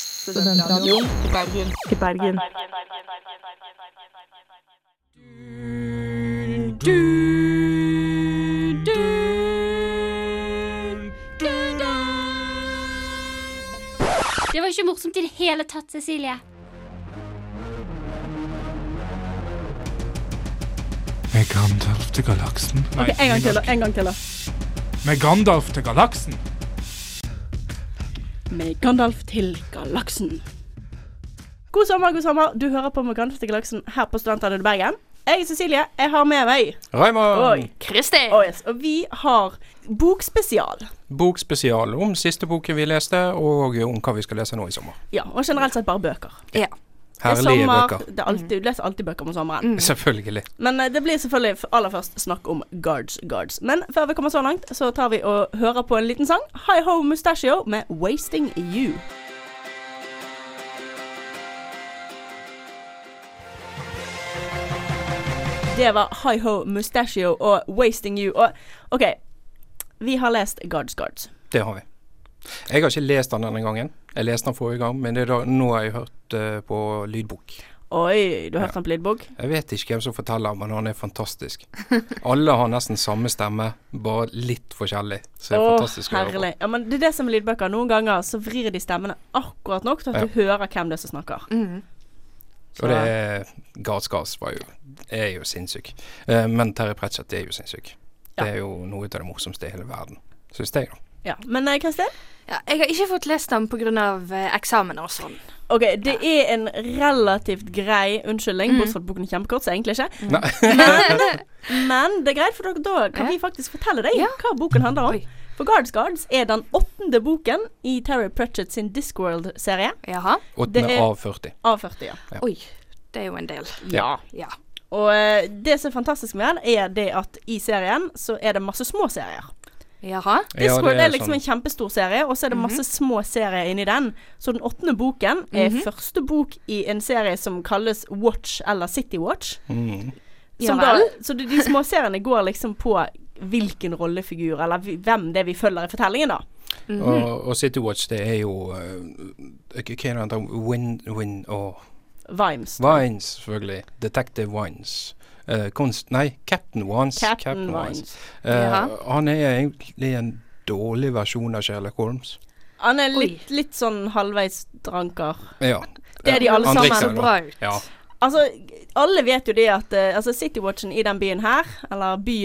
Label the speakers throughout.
Speaker 1: Studentradioen i Bergen. I Bergen.
Speaker 2: Det var ikke morsomt i det hele tatt, Cecilie.
Speaker 3: Med Gandalf til galaksen. Nei,
Speaker 4: Ok, En gang til, da. en gang til da.
Speaker 3: Med Gandalf til galaksen.
Speaker 4: Med Gandalf til galaksen. God sommer, god sommer. Du hører på Med Gandalf til galaksen her på Studentradioen i Bergen. Jeg er Cecilie. Jeg har med meg
Speaker 5: Raymond!
Speaker 4: Oi.
Speaker 1: Kristin!
Speaker 4: Oh yes. Og vi har bokspesial.
Speaker 5: Bokspesial om siste boken vi leste, og om hva vi skal lese nå i sommer.
Speaker 4: Ja, og generelt sett bare bøker.
Speaker 1: Ja.
Speaker 4: Det er
Speaker 5: Herlige
Speaker 4: sommer, Mm.
Speaker 5: bøker.
Speaker 4: Det er alltid, du leser alltid bøker om sommeren.
Speaker 5: Selvfølgelig.
Speaker 4: Men eh, det blir selvfølgelig f- aller først snakk om Guards Guards. Men før vi kommer så langt, så tar vi og hører på en liten sang. Hi Ho Mustachio med 'Wasting You'. Det var Hi Ho Mustachio og 'Wasting You'. Og OK, vi har lest Guards Guards.
Speaker 5: Det har vi. Jeg har ikke lest den denne gangen. Jeg leste den forrige gang, men det er da, nå har jeg hørt eh, på lydbok.
Speaker 4: Oi, du har hørt den på lydbok?
Speaker 5: Jeg vet ikke hvem som forteller, men han er fantastisk. Alle har nesten samme stemme, bare litt forskjellig. Så det er fantastisk å høre på.
Speaker 4: herlig. Ja, men det er det som med lydbøker. Noen ganger så vrir de stemmene akkurat nok til at du hører hvem det er som snakker.
Speaker 5: Og det er Gars Gars var jo, er jo sinnssyk. Eh, men Terje Pratchett er jo sinnssyk. Det er jo noe av det morsomste i hele verden, syns jeg, da.
Speaker 4: Ja. Men eh, Kristin?
Speaker 1: Ja, jeg har ikke fått lest den pga. eksamen og sånn.
Speaker 4: OK, det er en relativt grei unnskyldning,
Speaker 1: Mm.
Speaker 4: bortsett fra at boken er kjempekort, så egentlig ikke.
Speaker 5: Nei.
Speaker 4: Men det er greit, for da- da kan
Speaker 1: Ja.
Speaker 4: vi faktisk fortelle deg
Speaker 1: Ja.
Speaker 4: hva boken handler om.
Speaker 1: Oi.
Speaker 4: For Guards Guards er den åttende boken i Terry Pratchett sin Discworld-serie.
Speaker 1: Jaha.
Speaker 5: Åttende
Speaker 4: Det er-
Speaker 5: av 40.
Speaker 4: A40, ja.
Speaker 5: Ja.
Speaker 1: Oi, det er jo en del.
Speaker 5: Ja.
Speaker 1: Ja.
Speaker 4: Og eh, det som er fantastisk med den, er det at i serien så er det masse små serier.
Speaker 1: Jaha.
Speaker 5: Ja,
Speaker 4: Discworld
Speaker 5: det
Speaker 4: er,
Speaker 5: er
Speaker 4: liksom
Speaker 5: sånn.
Speaker 4: en kjempestor serie, og så er det masse
Speaker 1: Mhm.
Speaker 4: små serier inni den. Så den åttende boken er første bok i en serie som kalles Watch eller City Watch.
Speaker 5: Mm.
Speaker 4: Som
Speaker 1: Ja
Speaker 4: da,
Speaker 1: vel.
Speaker 4: så de, de små seriene går liksom på hvilken rollefigur, eller hvi- hvem det er vi følger i fortellingen, da.
Speaker 5: og, og City Watch, det er jo eh, Hva er det han heter? Win, win og
Speaker 4: Vimes.
Speaker 5: Vines, selvfølgelig. Detective Vines. Eh, konst... Nei, Captain Vines.
Speaker 4: Captain Vimes.
Speaker 5: Eh,
Speaker 1: Jaha.
Speaker 5: han er egentlig en dårlig versjon av Sherlock Holmes.
Speaker 4: Han er
Speaker 1: Oi.
Speaker 4: litt, litt sånn halvveis dranker.
Speaker 5: Ja.
Speaker 4: Det er de alle
Speaker 5: Han
Speaker 4: sammen.
Speaker 5: drikker
Speaker 1: Så
Speaker 5: nå.
Speaker 1: bra ut.
Speaker 5: Ja.
Speaker 4: Altså, alle vet jo det at eh, altså Citywatchen i den byen her, eller by...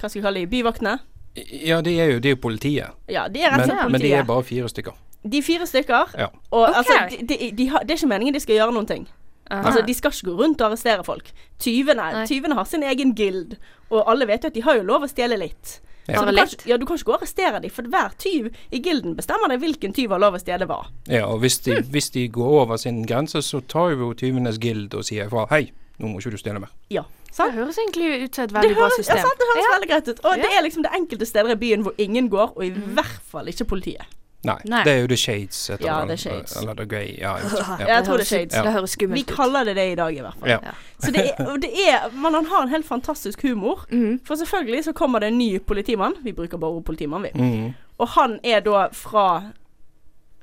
Speaker 4: Hva skal vi kalle de? Byvaktene?
Speaker 5: ja, det er jo det er jo politiet.
Speaker 4: Ja, de er rett og
Speaker 5: Men,
Speaker 4: slett
Speaker 5: men det
Speaker 4: politiet.
Speaker 5: er bare fire stykker.
Speaker 4: De er fire stykker.
Speaker 5: Ja.
Speaker 4: Og
Speaker 1: Ok.
Speaker 4: altså, de, de, de har, det er ikke meningen de skal gjøre noen ting.
Speaker 1: Aha.
Speaker 4: Altså, De skal ikke gå rundt og arrestere folk. Tyvene,
Speaker 1: Nei.
Speaker 4: tyvene har sin egen guild, og alle vet jo at de har jo lov å stjele litt. Så
Speaker 5: Ja.
Speaker 1: Bare
Speaker 4: du kan,
Speaker 1: litt.
Speaker 4: ikke- ja, du kan ikke gå og arrestere dem, for hver tyv i gilden bestemmer deg hvilken tyv har lov å stjele hva.
Speaker 5: Ja, og hvis de,
Speaker 4: Mm.
Speaker 5: hvis de går over sin grense, så tar jo tyvenes guild og sier ifra. Hei, nå må ikke du stjele mer.
Speaker 4: Ja,
Speaker 1: Det
Speaker 4: sant?
Speaker 1: høres egentlig ut som et
Speaker 4: Det
Speaker 1: veldig bra
Speaker 4: høres, ja,
Speaker 1: system.
Speaker 4: sant? Det høres
Speaker 1: Ja.
Speaker 4: veldig greit ut. Og
Speaker 1: Ja. Mhm.
Speaker 4: det er liksom det enkelte steder i byen hvor ingen går, og i hvert fall ikke politiet.
Speaker 5: Nei,
Speaker 1: Nei.
Speaker 5: det er jo The Shades. heter
Speaker 4: Ja,
Speaker 5: den,
Speaker 4: The Shades.
Speaker 5: eh, Eller The Grey. Ja, jeg vet ikke.
Speaker 4: Ja, jeg tror det
Speaker 1: høres
Speaker 4: er
Speaker 1: ut-
Speaker 4: shades.
Speaker 1: Det høres
Speaker 4: Vi
Speaker 1: skummelt ut.
Speaker 4: kaller det det i dag, i hvert fall.
Speaker 5: Ja.
Speaker 1: Ja.
Speaker 4: Så det er, og det er, men han har en helt fantastisk humor.
Speaker 1: Mhm.
Speaker 4: For selvfølgelig så kommer det en ny politimann. Vi bruker bare ordet politimann, vi.
Speaker 5: Mm.
Speaker 4: Og han er da fra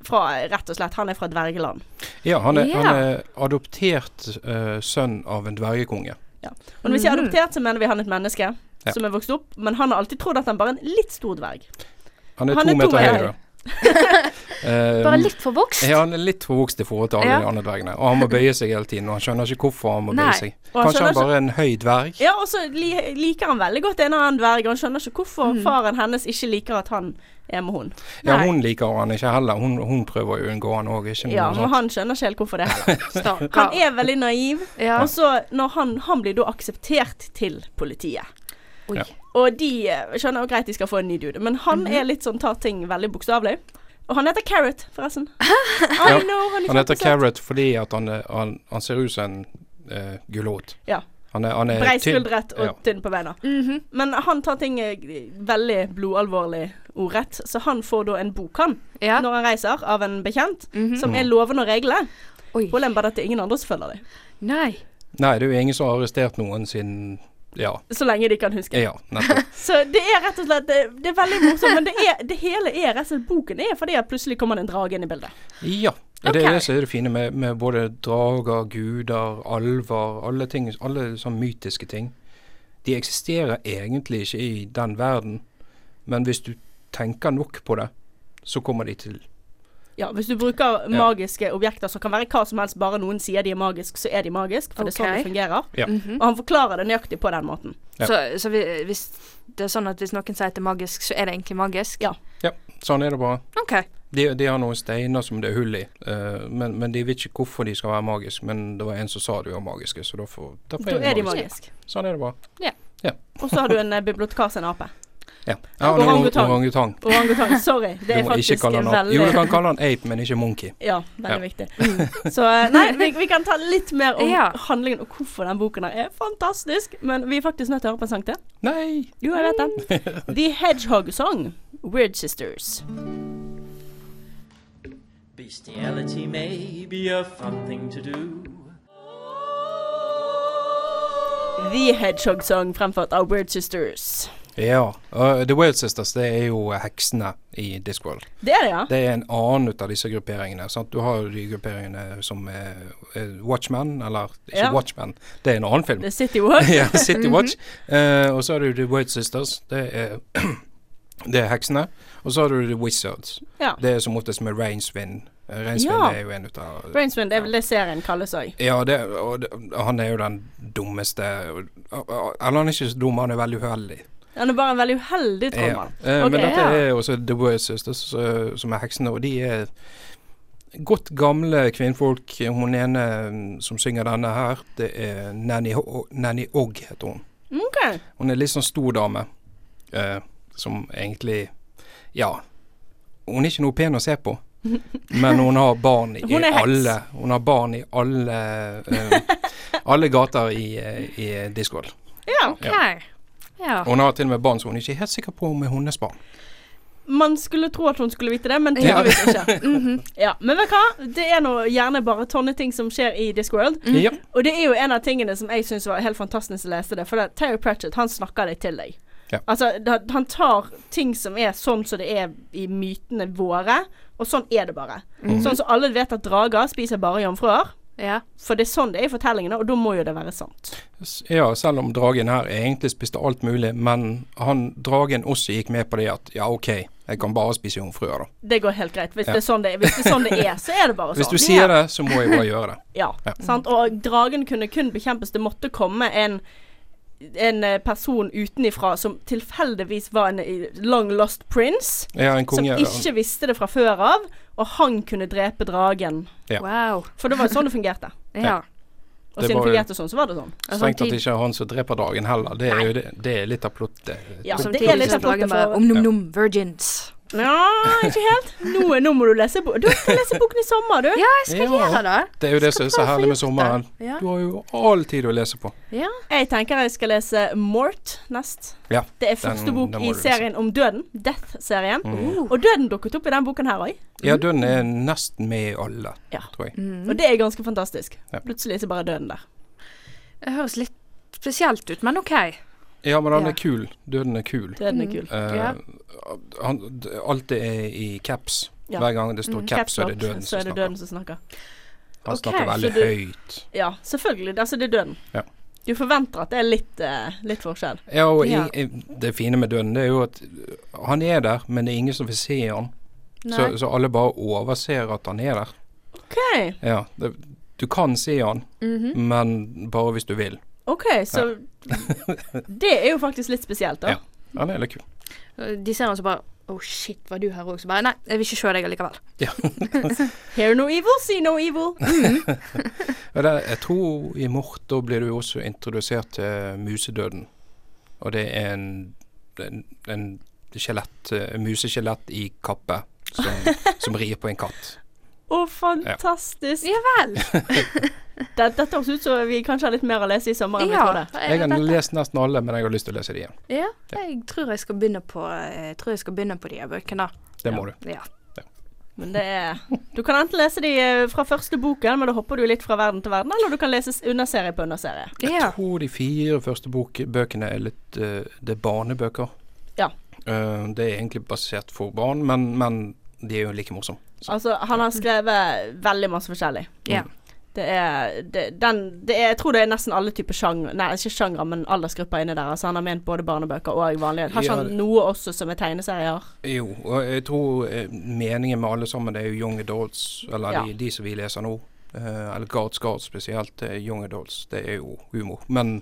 Speaker 4: fra, rett og slett, Han er fra Dvergeland.
Speaker 5: ja, han er,
Speaker 1: Ja.
Speaker 5: Han er adoptert eh, sønn av en dvergekonge.
Speaker 4: Og når
Speaker 1: Mhm.
Speaker 4: vi sier adoptert, så mener vi han er et menneske
Speaker 5: Ja.
Speaker 4: som er vokst opp. Men han har alltid trodd at han bare er en litt stor dverg.
Speaker 5: Han er
Speaker 4: Han
Speaker 5: to
Speaker 4: er to
Speaker 5: meter høy,
Speaker 4: meter.
Speaker 5: da. Eh,
Speaker 1: Bare litt for vokst.
Speaker 5: ja, han er litt for vokst i forhold til alle
Speaker 1: Ja.
Speaker 5: de andre dvergene. Og han må bøye seg hele tiden, og han skjønner ikke hvorfor han må
Speaker 1: Nei.
Speaker 5: bøye seg.
Speaker 4: Og han
Speaker 5: Kanskje
Speaker 4: skjønner
Speaker 5: han bare er en høy dverg?
Speaker 4: Ja, og så li liker han veldig godt en annen dverg, og han skjønner ikke hvorfor faren hennes ikke liker at han er med hun.
Speaker 5: Mhm. Ja,
Speaker 1: Nei.
Speaker 5: hun liker han ikke heller. Hun, hun prøver å unngå han òg, ikke noe
Speaker 4: Ja, Men
Speaker 5: sånt.
Speaker 4: han skjønner ikke helt hvorfor det heller.
Speaker 1: Stakkar.
Speaker 4: Han er veldig naiv,
Speaker 1: Ja.
Speaker 4: og så når han, han blir da akseptert til politiet.
Speaker 1: Oi.
Speaker 5: Ja.
Speaker 4: Og de eh, skjønner jo greit de skal få en ny dude, men han
Speaker 5: Mhm.
Speaker 4: er litt sånn tar ting veldig bokstavelig. Og han heter Carrot, forresten. I know,
Speaker 5: Ja,
Speaker 4: han er sånn
Speaker 5: Han heter
Speaker 4: kjempesøt.
Speaker 5: Carrot fordi at han, er, han, han ser ut som en uh, gulrot.
Speaker 4: Ja.
Speaker 5: Han er, han er
Speaker 4: Brei
Speaker 5: tynn.
Speaker 4: skuldrett og
Speaker 5: eh, Ja.
Speaker 4: tynn på beina.
Speaker 1: Mhm.
Speaker 4: Men han tar ting eh, veldig blodalvorlig ordrett, så han får da en bok, han,
Speaker 1: Ja.
Speaker 4: når han reiser, av en bekjent,
Speaker 1: Mhm.
Speaker 5: Mm.
Speaker 4: som er loven og reglene.
Speaker 1: Oi.
Speaker 4: Problemet bare er at det er ingen andre som følger dem,
Speaker 1: Nei.
Speaker 5: Nei, det er jo ingen som har arrestert noen siden Ja.
Speaker 4: så lenge de kan huske.
Speaker 5: ja nettopp.
Speaker 4: Så det er rett og slett Det, det er veldig morsomt, men det, er, det hele er rett og slett boken er fordi at plutselig kommer det en drage inn i bildet.
Speaker 5: Ja. Og Det er
Speaker 4: Ok.
Speaker 5: det som er det fine med, med både drager, guder, alver, alle, ting, alle sånn mytiske ting. De eksisterer egentlig ikke i den verden, men hvis du tenker nok på det, så kommer de til.
Speaker 4: Ja, hvis du bruker
Speaker 5: Ja.
Speaker 4: magiske objekter som kan være hva som helst, bare noen sier de er magisk, så er de magisk, for det er sånn
Speaker 1: Ok.
Speaker 4: det fungerer.
Speaker 5: Ja.
Speaker 1: Mhm.
Speaker 4: Og han forklarer det nøyaktig på den måten.
Speaker 5: Ja.
Speaker 1: Så, så vi, hvis det er sånn at hvis noen sier at det er magisk, så er det egentlig magisk?
Speaker 4: Ja.
Speaker 5: Sånn er det bare.
Speaker 1: OK.
Speaker 5: De, de har noen steiner som det er hull i, eh, men, men de vet ikke hvorfor de skal være magiske. Men det var en som sa de var magiske, så derfor, derfor
Speaker 4: Da er de
Speaker 5: magiske.
Speaker 4: magiske.
Speaker 5: Sånn er det bare.
Speaker 4: Og så har du en eh, bibliotekar som er en ape.
Speaker 5: Ja. ja og
Speaker 4: Orangutang.
Speaker 5: Orangutang.
Speaker 4: Orangutang. Sorry.
Speaker 5: Du
Speaker 4: Det er
Speaker 5: må ikke
Speaker 4: faktisk
Speaker 5: kalle
Speaker 4: en
Speaker 5: han ape. Jo, du
Speaker 4: veldig
Speaker 5: kan kalle han ape, men ikke monkey.
Speaker 4: Ja, veldig viktig. Så eh, nei, vi, vi kan ta litt mer om
Speaker 1: Ja.
Speaker 4: handlingen og hvorfor den boken her er fantastisk, men vi er faktisk nødt til å høre på en sang til.
Speaker 5: Nei!
Speaker 4: Jo, jeg vet det. The Hedgehog Song, Weird Sisters.
Speaker 6: Bestiality may be a fun thing to do.
Speaker 4: The Hedgehog Song fremført av Weird Sisters.
Speaker 5: Ja. og uh, The Wild Sisters det er jo uh, heksene i Discworld.
Speaker 4: Det er det, ja.
Speaker 5: Det er en annen ut av disse grupperingene. Sant? Du har jo de grupperingene som er, er Watchmen, eller ikke
Speaker 4: Ja.
Speaker 5: Watchmen, det er en annen film.
Speaker 4: The City Walk.
Speaker 5: ja, City
Speaker 4: Mhm.
Speaker 5: Watch. Eh, og så har du The Wild Sisters, det er, det er heksene. Og så har du The Wizards.
Speaker 4: Ja.
Speaker 5: Det er som oftest med Rainswind. Eh, Rainswind
Speaker 4: Ja.
Speaker 5: er jo en ut av
Speaker 4: Brainswind er vel det serien kalles òg.
Speaker 5: Ja, det, og det, han er jo den dummeste Eller han er ikke så dum, han er veldig uheldig.
Speaker 4: Han er bare en veldig uheldig trollmann.
Speaker 5: Ja. Eh,
Speaker 4: Ok,
Speaker 5: men dette
Speaker 1: ja.
Speaker 5: er også The Warrior Sisters, eh, som er heksene, og de er godt gamle kvinnfolk. Hun ene mm, som synger denne her, det er Nanny, Ho Nanny Ogg, heter hun.
Speaker 4: Ok.
Speaker 5: Hun er litt sånn stor dame, eh, som egentlig Ja. Hun er ikke noe pen å se på, men hun har barn i
Speaker 4: Hun er heks.
Speaker 5: alle Hun har barn i alle eh, Alle gater i, eh, i Discworld.
Speaker 4: Ja.
Speaker 1: OK. Ja.
Speaker 4: Ah.
Speaker 5: Hun har til og med barn som hun ikke er helt sikker på om er hennes barn.
Speaker 4: Man skulle tro at hun skulle vite det, men
Speaker 1: Ja.
Speaker 4: tydeligvis ikke.
Speaker 1: Mhm.
Speaker 4: Ja, Men vet du hva? Det er nå gjerne bare tonne ting som skjer i Discworld.
Speaker 5: Ja.
Speaker 4: Og det er jo en av tingene som jeg syns var helt fantastisk å lese det, for det, Terry Pratchett, han snakker det til deg.
Speaker 5: Ja.
Speaker 4: Altså, da- han tar ting som er sånn som det er i mytene våre, og sånn er det bare.
Speaker 5: Mm.
Speaker 4: Sånn som alle vet at drager spiser bare jomfruer.
Speaker 1: ja.
Speaker 4: For det er sånn det er i fortellingene, og da må jo det være sant.
Speaker 5: S- Ja, selv om dragen her egentlig spiste alt mulig, men han, dragen også gikk med på det at ja, OK, jeg kan bare spise jomfruer, da.
Speaker 4: Det går helt greit. Hvis,
Speaker 5: Ja.
Speaker 4: det, er sånn det, hvis det er sånn det er, så er det bare sånn.
Speaker 5: Hvis du sier det, så må jeg bare gjøre det.
Speaker 4: Ja,
Speaker 5: Ja.
Speaker 4: sant? Og dragen kunne kun bekjempes. Det måtte komme en, en eh, person utenifra som tilfeldigvis var en eh, long lost prince.
Speaker 5: Jeg har en konge
Speaker 4: som ikke visste det fra før av, og han kunne drepe dragen.
Speaker 5: Ja.
Speaker 1: Wow.
Speaker 4: For det var jo sånn det fungerte.
Speaker 1: Ja.
Speaker 4: Og
Speaker 5: Det
Speaker 4: siden
Speaker 5: var
Speaker 4: det
Speaker 5: jo-
Speaker 4: fungerte sånn, så var det sånn.
Speaker 1: Og
Speaker 5: Strengt tatt
Speaker 1: samtidig-
Speaker 5: ikke han som dreper dragen heller. Det er jo det, det er litt av plottet.
Speaker 4: Ja,
Speaker 1: og
Speaker 4: det er
Speaker 1: samtidig
Speaker 4: litt
Speaker 1: så liksom
Speaker 4: av plottet
Speaker 1: lager bare
Speaker 4: for-
Speaker 1: Om nom nom virgins.
Speaker 4: Nja, ikke helt. Nå, nå må du lese boken. Du skal lese boken i sommer, du.
Speaker 1: Ja, jeg skal
Speaker 5: Ja.
Speaker 1: gjøre det.
Speaker 5: Det er jo det som er så
Speaker 1: prøve å få
Speaker 5: herlig med
Speaker 1: gjort
Speaker 5: sommeren.
Speaker 1: det. Ja.
Speaker 5: Du har jo all tid å lese på.
Speaker 1: Ja.
Speaker 4: Jeg tenker jeg skal lese Mort nest.
Speaker 5: Ja,
Speaker 4: det er første
Speaker 5: den-
Speaker 4: bok
Speaker 5: den må
Speaker 4: i
Speaker 5: du lese.
Speaker 4: serien om døden. Death-serien.
Speaker 5: Mm.
Speaker 1: Oh.
Speaker 4: Og døden dukket opp i den boken her òg.
Speaker 5: Ja, døden er nesten med i alle,
Speaker 4: Ja.
Speaker 5: tror jeg.
Speaker 1: Mm.
Speaker 4: Og det er ganske fantastisk.
Speaker 5: Ja.
Speaker 4: Plutselig er det bare døden der.
Speaker 1: Det høres litt spesielt ut, men OK.
Speaker 5: Ja, men han
Speaker 1: Ja.
Speaker 5: er kul. Døden er kul.
Speaker 4: Døden er
Speaker 1: Mm.
Speaker 4: kul.
Speaker 5: Eh,
Speaker 1: Ja.
Speaker 5: han, d- alt det er i caps.
Speaker 4: Ja.
Speaker 5: Hver gang det står
Speaker 1: Mm.
Speaker 5: caps, så er det
Speaker 4: Caps lock,
Speaker 5: døden
Speaker 4: så
Speaker 5: som
Speaker 4: er det
Speaker 5: snakker.
Speaker 4: døden som snakker.
Speaker 5: Han
Speaker 1: Ok, så
Speaker 5: snakker veldig
Speaker 4: du-
Speaker 5: høyt.
Speaker 4: Ja, selvfølgelig. Altså, det er døden.
Speaker 5: Ja.
Speaker 4: Du forventer at det er litt, eh, litt forskjell.
Speaker 5: Ja, og i,
Speaker 1: Ja.
Speaker 5: i- det fine med døden, det er jo at han er der, men det er ingen som vil se han.
Speaker 1: Nei.
Speaker 5: Så, så alle bare overser at han er der.
Speaker 4: OK,
Speaker 5: Ja, det, du kan se han,
Speaker 1: Mhm.
Speaker 5: men bare hvis du vil.
Speaker 4: ok, så Det er jo faktisk litt spesielt, da.
Speaker 5: Ja. Han er litt kul.
Speaker 1: De ser altså bare Oh shit, var du her òg? Så bare Nei, jeg vil ikke se deg allikevel.
Speaker 4: Hear no evil, see no evil.
Speaker 5: Ja, det, jeg tror i Mort da blir du også introdusert til musedøden. Og det er en, en, en skjelett, eh, museskjelett i kappe som, som rir på en katt.
Speaker 4: Å, fantastisk.
Speaker 1: Ja vel.
Speaker 4: Det, dette høres ut som vi kanskje har litt mer å lese i sommer enn vi trodde.
Speaker 5: Jeg har lest nesten alle, men jeg har lyst til å lese de igjen.
Speaker 1: Ja, jeg tror jeg skal begynne på eh, Jeg tror jeg skal begynne på de her bøkene.
Speaker 5: Det må du.
Speaker 1: Ja.
Speaker 4: Men det er Du kan enten lese de eh, fra første boken, men da hopper du litt fra verden til verden, eller du kan lese s- underserie på underserie.
Speaker 1: Ja.
Speaker 5: Jeg tror de fire første bok, bøkene er litt eh, Det er barnebøker.
Speaker 4: Ja.
Speaker 5: Eh, det er egentlig basert for barn, men, men de er jo like morsomme. Så-
Speaker 4: Altså, han har skrevet veldig masse forskjellig.
Speaker 1: Ja.
Speaker 4: Det er, det, den, det er, jeg tror det er nesten alle typer sjanger Nei, ikke sjanger, men aldersgrupper inni der. Altså, han har ment både barnebøker og vanlige. Har
Speaker 5: Ja,
Speaker 4: ikke han
Speaker 5: det-
Speaker 4: noe også som er tegneserier?
Speaker 5: Jo, og jeg tror eh, meningen med alle sammen det er jo young adults, eller
Speaker 4: Ja.
Speaker 5: de, de som vi leser nå. eh, eller Guards Guards spesielt, eh, young adults. Det er jo humor. Men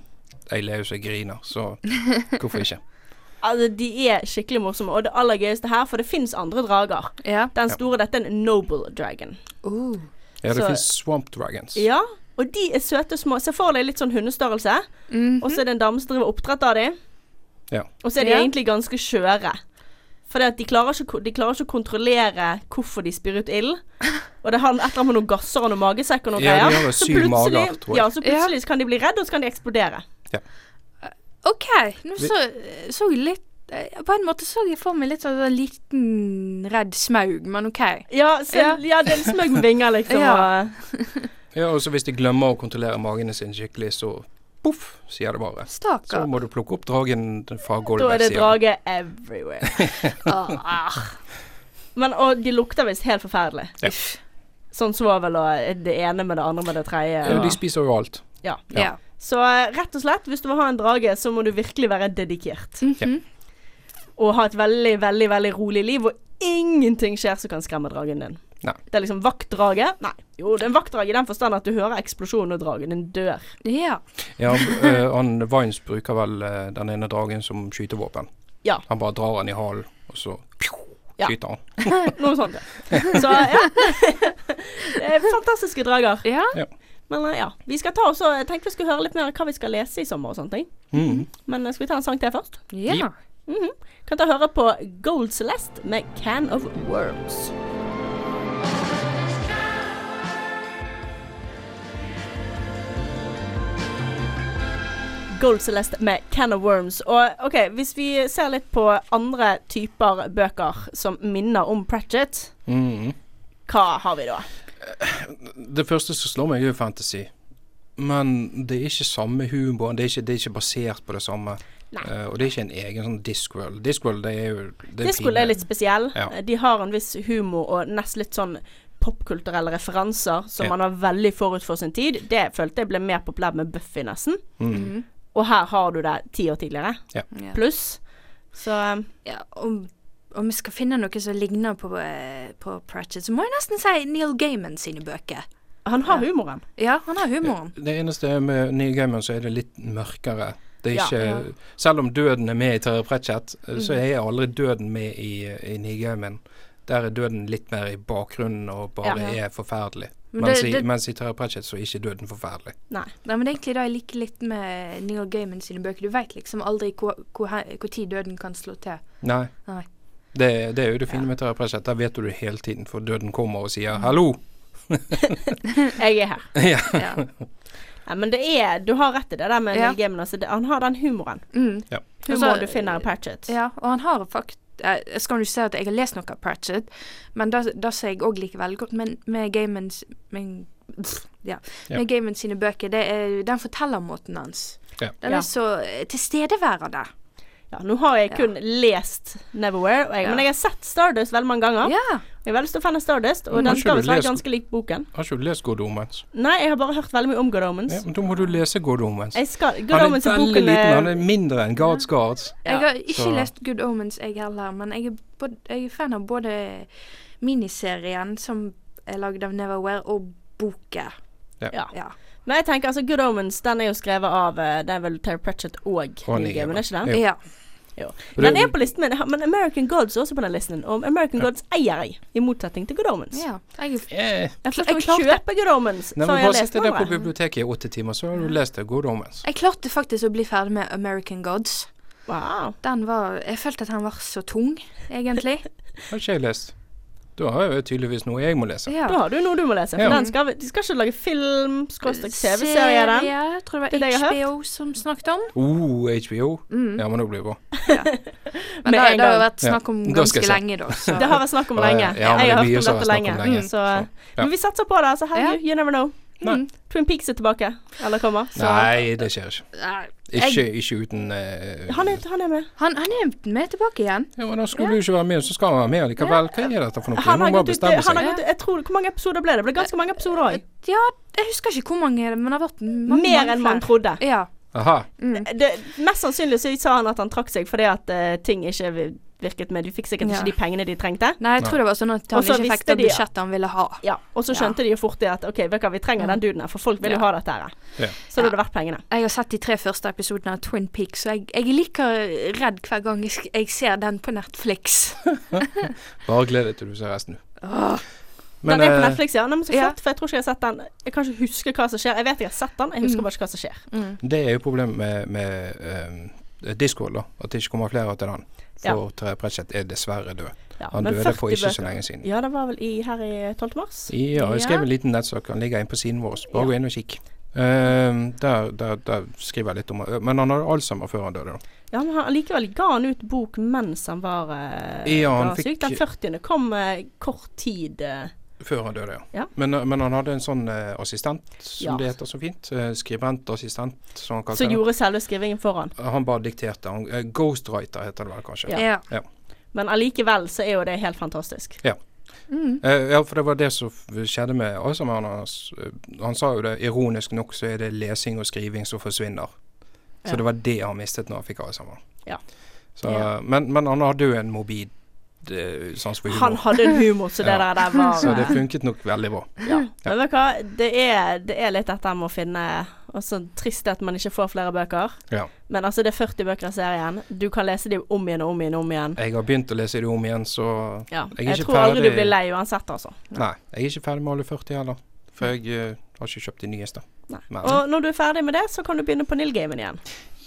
Speaker 5: jeg ler jo så jeg griner, så hvorfor ikke?
Speaker 4: Altså, de er skikkelig morsomme. Og det aller gøyeste her, for det fins andre drager.
Speaker 1: Ja.
Speaker 4: Den
Speaker 5: Ja.
Speaker 4: store, dette er en noble dragon.
Speaker 1: Uh.
Speaker 5: Ja, det
Speaker 4: Så-
Speaker 5: finnes Swamp Dragons.
Speaker 4: Ja, og de er søte små. Se for deg litt sånn hundestørrelse.
Speaker 1: Mhm.
Speaker 4: Og så er det en dame som driver oppdrett av dem.
Speaker 5: Ja.
Speaker 4: Og så er de
Speaker 1: Ja.
Speaker 4: egentlig ganske skjøre. For de klarer, ikke, å ko- de klarer ikke å kontrollere hvorfor de spyr ut ild. Og det har et eller annet med noen gasser og noen magesekk og noen
Speaker 5: Ja, de
Speaker 4: greier.
Speaker 5: har
Speaker 4: Så
Speaker 5: syv
Speaker 4: plutselig,
Speaker 5: mager, tror jeg.
Speaker 4: ja, så plutselig så kan de bli redde, og så kan de eksplodere.
Speaker 1: OK. Nå så, så jeg litt eh, På en måte så jeg for meg litt sånn en liten redd smaug, men OK.
Speaker 4: Ja, så, ja.
Speaker 1: Ja.
Speaker 4: det er en smøgg med vinger, liksom.
Speaker 1: Ja.
Speaker 4: og-
Speaker 5: Ja, og så hvis de glemmer å kontrollere magene sine skikkelig, så poff, sier det bare. Så
Speaker 1: Stakkar.
Speaker 5: må du plukke opp dragen
Speaker 4: Da
Speaker 5: fra
Speaker 4: er
Speaker 5: gulvet.
Speaker 4: det
Speaker 5: sier han.
Speaker 4: drage everywhere.
Speaker 1: Ah,
Speaker 4: Men, og de lukter visst helt forferdelig.
Speaker 5: Ja.
Speaker 4: Sånn svovel og det ene med det andre med det tredje.
Speaker 5: Ja,
Speaker 4: og-
Speaker 5: de spiser jo alt. Ja.
Speaker 1: ja.
Speaker 4: Så eh, rett og slett, hvis du vil ha en drage, så må du virkelig være dedikert.
Speaker 1: Mhm.
Speaker 4: Og ha et veldig, veldig veldig rolig liv, og ingenting skjer som kan skremme dragen din.
Speaker 5: Nei.
Speaker 4: Det er liksom vaktdrage. Nei, jo, det er en vaktdrage i den forstand at du hører eksplosjonen, og dragen din dør.
Speaker 1: Ja.
Speaker 5: Ja, eh, han Vines bruker vel eh, den ene dragen som skytevåpen.
Speaker 4: Ja.
Speaker 5: Han bare drar den i halen, og så pju,
Speaker 4: Ja.
Speaker 5: skyter han.
Speaker 4: Noe sånt. ja. Så ja. Det er Fantastiske drager.
Speaker 1: Ja.
Speaker 4: Men eh, ja, vi skal ta også, jeg tenkte vi skulle høre litt mer hva vi skal lese i sommer og sånne ting.
Speaker 5: Mhm.
Speaker 4: Men eh, skal vi ta en sang til først?
Speaker 1: ja.
Speaker 4: Kan ta høre på Gold Celeste med Can of Worms. Gold Celeste med Can of Worms. Og ok, Hvis vi ser litt på andre typer bøker som minner om Pratchett,
Speaker 5: Mhm.
Speaker 4: hva har vi da?
Speaker 5: Det første som slår meg, er jo fantasy. Men det er ikke samme humor, det er ikke, det er ikke basert på det samme.
Speaker 4: Nei.
Speaker 5: Eh, og det er ikke en egen sånn Discworld. Discworld det er jo det er
Speaker 4: Discworld er litt spesiell.
Speaker 5: Ja.
Speaker 4: De har en viss humor og nesten litt sånn popkulturelle referanser som
Speaker 5: Ja.
Speaker 4: man var veldig forut for sin tid. Det følte jeg ble mer populært med Buffy, nesten.
Speaker 5: Mhm.
Speaker 1: Mhm.
Speaker 4: Og her har du det ti år tidligere,
Speaker 1: ja.
Speaker 4: pluss. Så um,
Speaker 1: ja om, om vi skal finne noe som ligner på, eh, på Pratchett, så må jeg nesten si Neil Gaiman sine bøker.
Speaker 4: han har
Speaker 1: Ja.
Speaker 4: humoren.
Speaker 1: Ja, han har humoren.
Speaker 5: Det eneste med Neil Gaiman, så er det litt mørkere. Det er
Speaker 4: Ja.
Speaker 5: ikke,
Speaker 1: Ja.
Speaker 5: Selv om døden er med i Terje Pratchett, eh, så er aldri døden med i, i Neil Gaiman. Der er døden litt mer i bakgrunnen og bare
Speaker 1: Ja.
Speaker 5: er forferdelig.
Speaker 1: Men
Speaker 5: mens,
Speaker 1: det-
Speaker 5: i,
Speaker 1: det-
Speaker 5: mens i Terje Pratchett så er ikke døden forferdelig.
Speaker 1: Nei, men det er egentlig det jeg liker litt med Neil Gaiman sine bøker. Du veit liksom aldri hvor, hvor, he- hvor tid døden kan slå til.
Speaker 5: Nei.
Speaker 1: Nei.
Speaker 5: Det, det er jo det fine med Terje Pratchett. Der vet du det hele tiden, for døden kommer og
Speaker 4: Mm.
Speaker 5: sier 'hallo'.
Speaker 4: Jeg er her.
Speaker 5: ja.
Speaker 1: Ja.
Speaker 4: Ja, men det er Du har rett i det der med
Speaker 1: Ja.
Speaker 4: Neil Gaiman. Altså, det, han har den humoren.
Speaker 1: Mm.
Speaker 4: Humoren
Speaker 1: Altså,
Speaker 4: du finner i Patchet.
Speaker 1: Ja, og han har faktisk Jeg skal jo ikke si at jeg har lest noe av Pratchett, men det det som jeg òg liker veldig godt men med Gamans men, pff, ja.
Speaker 5: Ja.
Speaker 1: Med Gaiman sine bøker, det er den fortellermåten hans.
Speaker 5: Ja.
Speaker 1: Den
Speaker 4: Ja.
Speaker 1: er så eh, tilstedeværende.
Speaker 4: Ja, nå har jeg
Speaker 1: Ja.
Speaker 4: kun lest Neverwhere, og jeg,
Speaker 1: Ja.
Speaker 4: men jeg har sett Stardust veldig mange ganger.
Speaker 1: Ja.
Speaker 4: Jeg er veldig stor fan av Stardust, og
Speaker 5: Mm. Har
Speaker 4: den
Speaker 5: ikke
Speaker 4: skal
Speaker 5: du
Speaker 4: visst være
Speaker 5: lest-
Speaker 4: ganske lik boken.
Speaker 5: Har ikke du lest God Omens?
Speaker 4: Nei, jeg har bare hørt veldig mye om God Omens.
Speaker 5: Ja, men da må du lese God Omens.
Speaker 4: Mm. Jeg skal Good
Speaker 5: Han er
Speaker 4: Omens i
Speaker 5: veldig
Speaker 4: boken eh,
Speaker 5: liten, han
Speaker 4: er
Speaker 5: er mindre enn Guards Guards.
Speaker 1: Jeg har ikke
Speaker 5: Så-
Speaker 1: lest Good Omens, jeg heller, men jeg er, bod- jeg er fan av både miniserien, som er lagd av Neverwhere, og boka.
Speaker 4: ja.
Speaker 1: Ja.
Speaker 4: Men jeg tenker altså Good Omens den er jo skrevet av eh, Det er vel Terry Pratchett og
Speaker 5: Og
Speaker 4: Neil Gaiman, er ikke den?
Speaker 5: Jo.
Speaker 1: ja.
Speaker 4: Den er på listen min, men American Gods er også på den listen. Og American Gods eier jeg, i motsetning til Good Omens.
Speaker 1: ja. Jeg er
Speaker 5: Eh.
Speaker 4: Jeg
Speaker 1: Kla-
Speaker 4: får ikke
Speaker 1: jeg klarte-
Speaker 4: kjøpe Good Omens før
Speaker 5: Nei, men
Speaker 4: jeg har
Speaker 5: bare
Speaker 4: lest
Speaker 5: sitte der på
Speaker 4: den.
Speaker 5: biblioteket i åtte timer, så har du lest det. God omens.
Speaker 1: Jeg klarte faktisk å bli ferdig med American Gods.
Speaker 4: Wow.
Speaker 1: Den var Jeg følte at han var så tung, egentlig.
Speaker 5: Har ikke jeg lest. Da har jeg jo tydeligvis noe jeg må lese.
Speaker 1: Ja.
Speaker 4: Da har du noe du må lese. For
Speaker 5: Ja.
Speaker 4: den skal, vi- de skal ikke lage film, skråstrek TV-serie av den.
Speaker 1: Serie, tror det
Speaker 4: Det er det jeg
Speaker 1: var
Speaker 4: har
Speaker 1: HBO som snakket om.
Speaker 5: Oh, HBO.
Speaker 1: Mm.
Speaker 5: Ja, men nå blir det bra.
Speaker 1: Men
Speaker 4: Med
Speaker 1: det,
Speaker 4: en
Speaker 1: det har
Speaker 4: gang.
Speaker 1: vært snakk om
Speaker 5: Ja, da skal
Speaker 1: ganske
Speaker 5: jeg se.
Speaker 1: lenge, da. Så.
Speaker 4: Det har vært snakk om lenge.
Speaker 5: Ja, men
Speaker 4: jeg
Speaker 5: det er
Speaker 4: har
Speaker 5: mye
Speaker 4: hørt om
Speaker 5: som har
Speaker 4: dette
Speaker 5: vært snakk
Speaker 4: lenge.
Speaker 5: om lenge.
Speaker 4: Så,
Speaker 5: Så, ja.
Speaker 4: Men vi satser på det. Altså, herregud, you never know.
Speaker 5: Nei.
Speaker 1: Mm.
Speaker 4: Twin Peaks er tilbake. Eller kommer. Så.
Speaker 5: Nei, det skjer ikke.
Speaker 1: Nei,
Speaker 5: Ikke, ikke uten eh,
Speaker 4: Han er, han er med.
Speaker 1: Han, han er med tilbake igjen.
Speaker 5: Jo, men da skulle du ikke være med, så skal han være med likevel. Hva er dette for noe?
Speaker 4: Han
Speaker 5: Han
Speaker 4: har
Speaker 5: må bare
Speaker 4: gått ut,
Speaker 5: bestemme
Speaker 4: han
Speaker 5: seg.
Speaker 4: har gått ut jeg tror, Hvor mange episoder ble det? Det ble ganske mange episoder òg.
Speaker 1: Ja, jeg husker ikke hvor mange, men det har vært mange,
Speaker 4: Mer enn man
Speaker 1: flere.
Speaker 4: trodde.
Speaker 1: Ja.
Speaker 5: Aha.
Speaker 4: Det, mest sannsynlig så sa han at han trakk seg fordi at eh, ting ikke virket med De fikk sikkert
Speaker 1: Ja.
Speaker 4: ikke de pengene de trengte.
Speaker 1: Nei, jeg tror det var sånn at han
Speaker 4: Og så
Speaker 1: ikke fikk
Speaker 4: visste
Speaker 1: det
Speaker 4: de-
Speaker 1: budsjettet han ville ha.
Speaker 4: Ja, Og så skjønte de jo fort det at OK, vet du hva, vi trenger den duden her, for folk vil jo
Speaker 1: Ja.
Speaker 4: ha dette her.
Speaker 5: Ja.
Speaker 4: Så da hadde det vært pengene.
Speaker 1: Jeg har sett de tre første episodene av Twin Peaks, og jeg, jeg er like redd hver gang jeg, sk- jeg ser den på Netflix.
Speaker 5: Bare gled deg til du ser resten.
Speaker 1: Åh.
Speaker 5: Men
Speaker 4: den er på
Speaker 5: eh,
Speaker 4: Netflix, ja. Nei, men så
Speaker 1: ja.
Speaker 4: flott, for jeg tror ikke jeg har sett den. Jeg kan ikke huske hva som skjer. Jeg vet jeg har sett den, jeg husker
Speaker 1: Mm.
Speaker 4: bare ikke hva som skjer.
Speaker 5: det er jo problemet med, med eh, Discord, da. At det ikke kommer flere til den. For Terje Pratchett er dessverre død.
Speaker 4: Ja,
Speaker 5: Han
Speaker 4: men
Speaker 5: døde
Speaker 4: 40
Speaker 5: for ikke så
Speaker 4: bøker.
Speaker 5: lenge siden.
Speaker 4: Ja, det var vel i, her i 12. mars.
Speaker 5: Ja, jeg skrev
Speaker 1: Ja.
Speaker 5: en liten nettsak. Han ligger inne på siden vår. Bare
Speaker 4: Ja.
Speaker 5: gå inn og kikk. Eh, der, der, der skriver jeg litt om eh, Men han hadde alzheimer før han døde, da.
Speaker 4: Ja, men han, likevel ga han ut bok mens han var, eh,
Speaker 5: Ja, han
Speaker 4: var syk.
Speaker 5: fikk-
Speaker 4: Den 40. kom eh, kort tid eh,
Speaker 5: Før han døde, ja.
Speaker 4: Ja.
Speaker 5: Men, men han hadde en sånn eh, assistent, som
Speaker 4: Ja.
Speaker 5: det heter så fint. eh, skribentassistent, som han kalte
Speaker 4: som
Speaker 5: det.
Speaker 4: gjorde selve skrivingen for han.
Speaker 5: Han bare dikterte. Han, eh, ghostwriter heter det vel kanskje.
Speaker 4: Ja.
Speaker 5: Ja.
Speaker 1: Ja.
Speaker 4: Men allikevel så er jo det helt fantastisk.
Speaker 1: Mm.
Speaker 5: Eh, ja, for det var det som f- skjedde med Alzheimeren hans. Eh, Han sa jo det, ironisk nok så er det lesing og skriving som forsvinner. Så
Speaker 4: Ja.
Speaker 5: det var det han mistet når han fikk Alzheimer.
Speaker 4: Ja.
Speaker 5: Så,
Speaker 4: Ja.
Speaker 5: Men, men han hadde jo en mobil eh, sans for
Speaker 4: Han
Speaker 5: humor.
Speaker 4: hadde en humor, så det
Speaker 5: Ja.
Speaker 4: der, der var
Speaker 5: Så det
Speaker 4: eh,
Speaker 5: funket nok veldig bra.
Speaker 4: ja. Men vet du hva, det er, det er litt dette med å finne Og så trist at man ikke får flere bøker.
Speaker 5: Ja.
Speaker 4: Men altså, det er 40 bøker i serien. Du kan lese dem om igjen og om igjen og om igjen.
Speaker 5: Jeg har begynt å lese det om igjen, så
Speaker 4: Ja.
Speaker 5: Jeg er
Speaker 4: Jeg,
Speaker 5: ikke
Speaker 4: tror aldri
Speaker 5: ferdig.
Speaker 4: du blir lei uansett, altså.
Speaker 5: Nei, jeg er ikke ferdig med alle 40 heller. For jeg eh, har ikke kjøpt de nyeste.
Speaker 4: Nei.
Speaker 5: Men-
Speaker 4: Og når du er ferdig med det, så kan du begynne på Neil Gaiman igjen.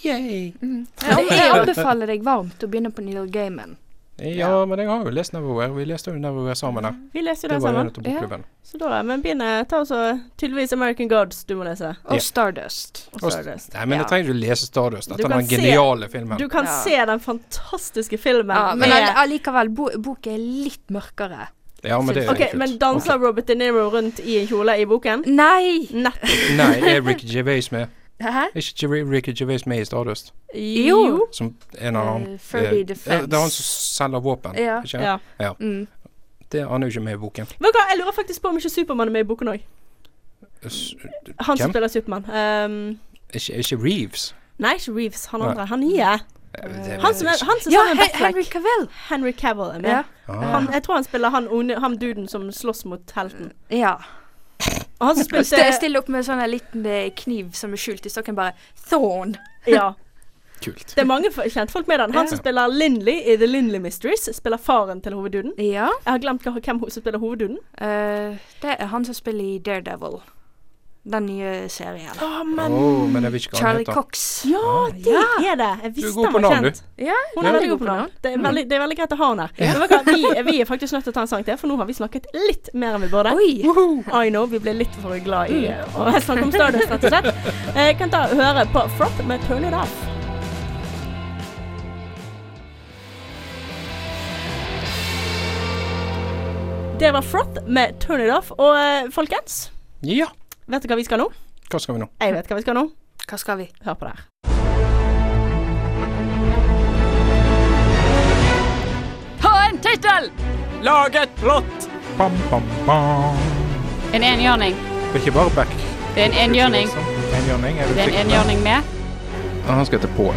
Speaker 5: Yay.
Speaker 1: Mm. Jeg, jeg anbefaler deg varmt å begynne på Neil Gaiman.
Speaker 5: Ja, men jeg har jo lest Neverwhere. Vi leste jo Neverwhere sammen her.
Speaker 4: Vi leser jo
Speaker 5: Det
Speaker 4: den
Speaker 5: var jo
Speaker 4: sammen.
Speaker 5: nettopp bokklubben.
Speaker 4: Så da, men begynn. Ta også tydeligvis American Gods du må lese.
Speaker 1: Og
Speaker 5: Ja.
Speaker 1: Stardust.
Speaker 4: Og
Speaker 5: Og-
Speaker 4: Stardust.
Speaker 5: Nei, men
Speaker 1: Ja.
Speaker 5: jeg trenger ikke å lese Stardust.
Speaker 4: Du
Speaker 5: Dette er
Speaker 4: kan
Speaker 5: den
Speaker 4: se-
Speaker 5: geniale filmen.
Speaker 4: Du kan
Speaker 1: Ja.
Speaker 4: se den fantastiske filmen.
Speaker 1: Ja, men
Speaker 4: med-
Speaker 1: all- allikevel, bo, boken er litt mørkere.
Speaker 5: ja, men det er
Speaker 4: Ok,
Speaker 5: litt kult.
Speaker 4: men danser Robert De Niro rundt i en kjole i boken?
Speaker 1: Nei!
Speaker 4: Nettopp.
Speaker 5: Nei, er Ricky Gervais med?
Speaker 1: Hæ?
Speaker 5: Er ikke Jerry- Ricky Gervais med i Stardust?
Speaker 1: Jo.
Speaker 5: Som en av
Speaker 1: Eh,
Speaker 5: annen
Speaker 1: Furby
Speaker 5: eh,
Speaker 1: Defense.
Speaker 5: Det er han som selger våpen.
Speaker 1: Ja.
Speaker 5: Ikke?
Speaker 4: Ja.
Speaker 1: Mm.
Speaker 5: Det, han er jo ikke med i boken.
Speaker 4: Vet du hva, jeg lurer faktisk på om ikke Supermann er med i boken òg.
Speaker 5: S-
Speaker 4: Han som
Speaker 5: Hvem?
Speaker 4: spiller Supermann. Um,
Speaker 5: Ikke, ikke Reeves.
Speaker 4: nei, ikke Reeves. Han
Speaker 5: Nei.
Speaker 4: andre. Han nye.
Speaker 5: Eh, det
Speaker 4: Han som, er, han som
Speaker 1: Ja,
Speaker 4: sammen med
Speaker 1: Hen-
Speaker 4: Batfleck.
Speaker 1: Henry Cavill.
Speaker 4: Henry Cavill er med.
Speaker 1: Ja.
Speaker 5: ah,
Speaker 4: Han, jeg tror han spiller han, onde- han duden som slåss mot helten.
Speaker 1: ja.
Speaker 4: Og han som
Speaker 1: Og st-
Speaker 4: spilte
Speaker 1: Stille opp med sånn en liten eh, kniv som er skjult i stokken, bare Thorn.
Speaker 4: Ja.
Speaker 5: Kult.
Speaker 4: Det er mange f- kjentfolk med den. Han som spiller Lindley i The Lindley Mysteries, spiller faren til hovedduden.
Speaker 1: Ja.
Speaker 4: Jeg har glemt hva- hvem ho- som spiller hovedduden.
Speaker 1: eh, det er han som spiller i Daredevil. Den nye serien.
Speaker 4: Å,
Speaker 5: Åh,
Speaker 4: men
Speaker 5: men jeg vet ikke hva han
Speaker 1: Charlie
Speaker 5: heter.
Speaker 1: Cox.
Speaker 4: Ja, det
Speaker 1: Ja.
Speaker 4: er det! Jeg visste
Speaker 5: god
Speaker 4: han
Speaker 5: på
Speaker 4: var
Speaker 5: navn, du.
Speaker 4: kjent.
Speaker 1: Ja,
Speaker 4: Hun er
Speaker 1: veldig
Speaker 4: veldig god på navn. Det er veldig, det er veldig greit å ha henne her. Men vet du hva, Vi, vi er faktisk nødt til å ta en sang til, for nå har vi snakket litt mer enn vi burde.
Speaker 1: Oi!
Speaker 4: I know, vi ble litt for glad i eh, å snakke om Stardust, rett og slett. Jeg kan ta og høre på Frop med Turn It Off. Det var Froth med Turn It Off. Og eh, folkens,
Speaker 5: Ja,
Speaker 4: vet du hva vi skal nå?
Speaker 5: hva skal vi nå?
Speaker 4: Jeg vet hva vi skal nå.
Speaker 1: Hva skal vi?
Speaker 4: Hør på det her.
Speaker 7: Ha en tittel!
Speaker 6: Lag et plott!
Speaker 3: Bam, bam, bam.
Speaker 7: En enhjørning.
Speaker 5: Det er ikke bare back.
Speaker 7: Det er en enhjørning.
Speaker 3: Enhjørning. er det
Speaker 7: Det er en
Speaker 3: fikk-
Speaker 7: enhjørning med.
Speaker 5: Ah, Han skal hete Paul.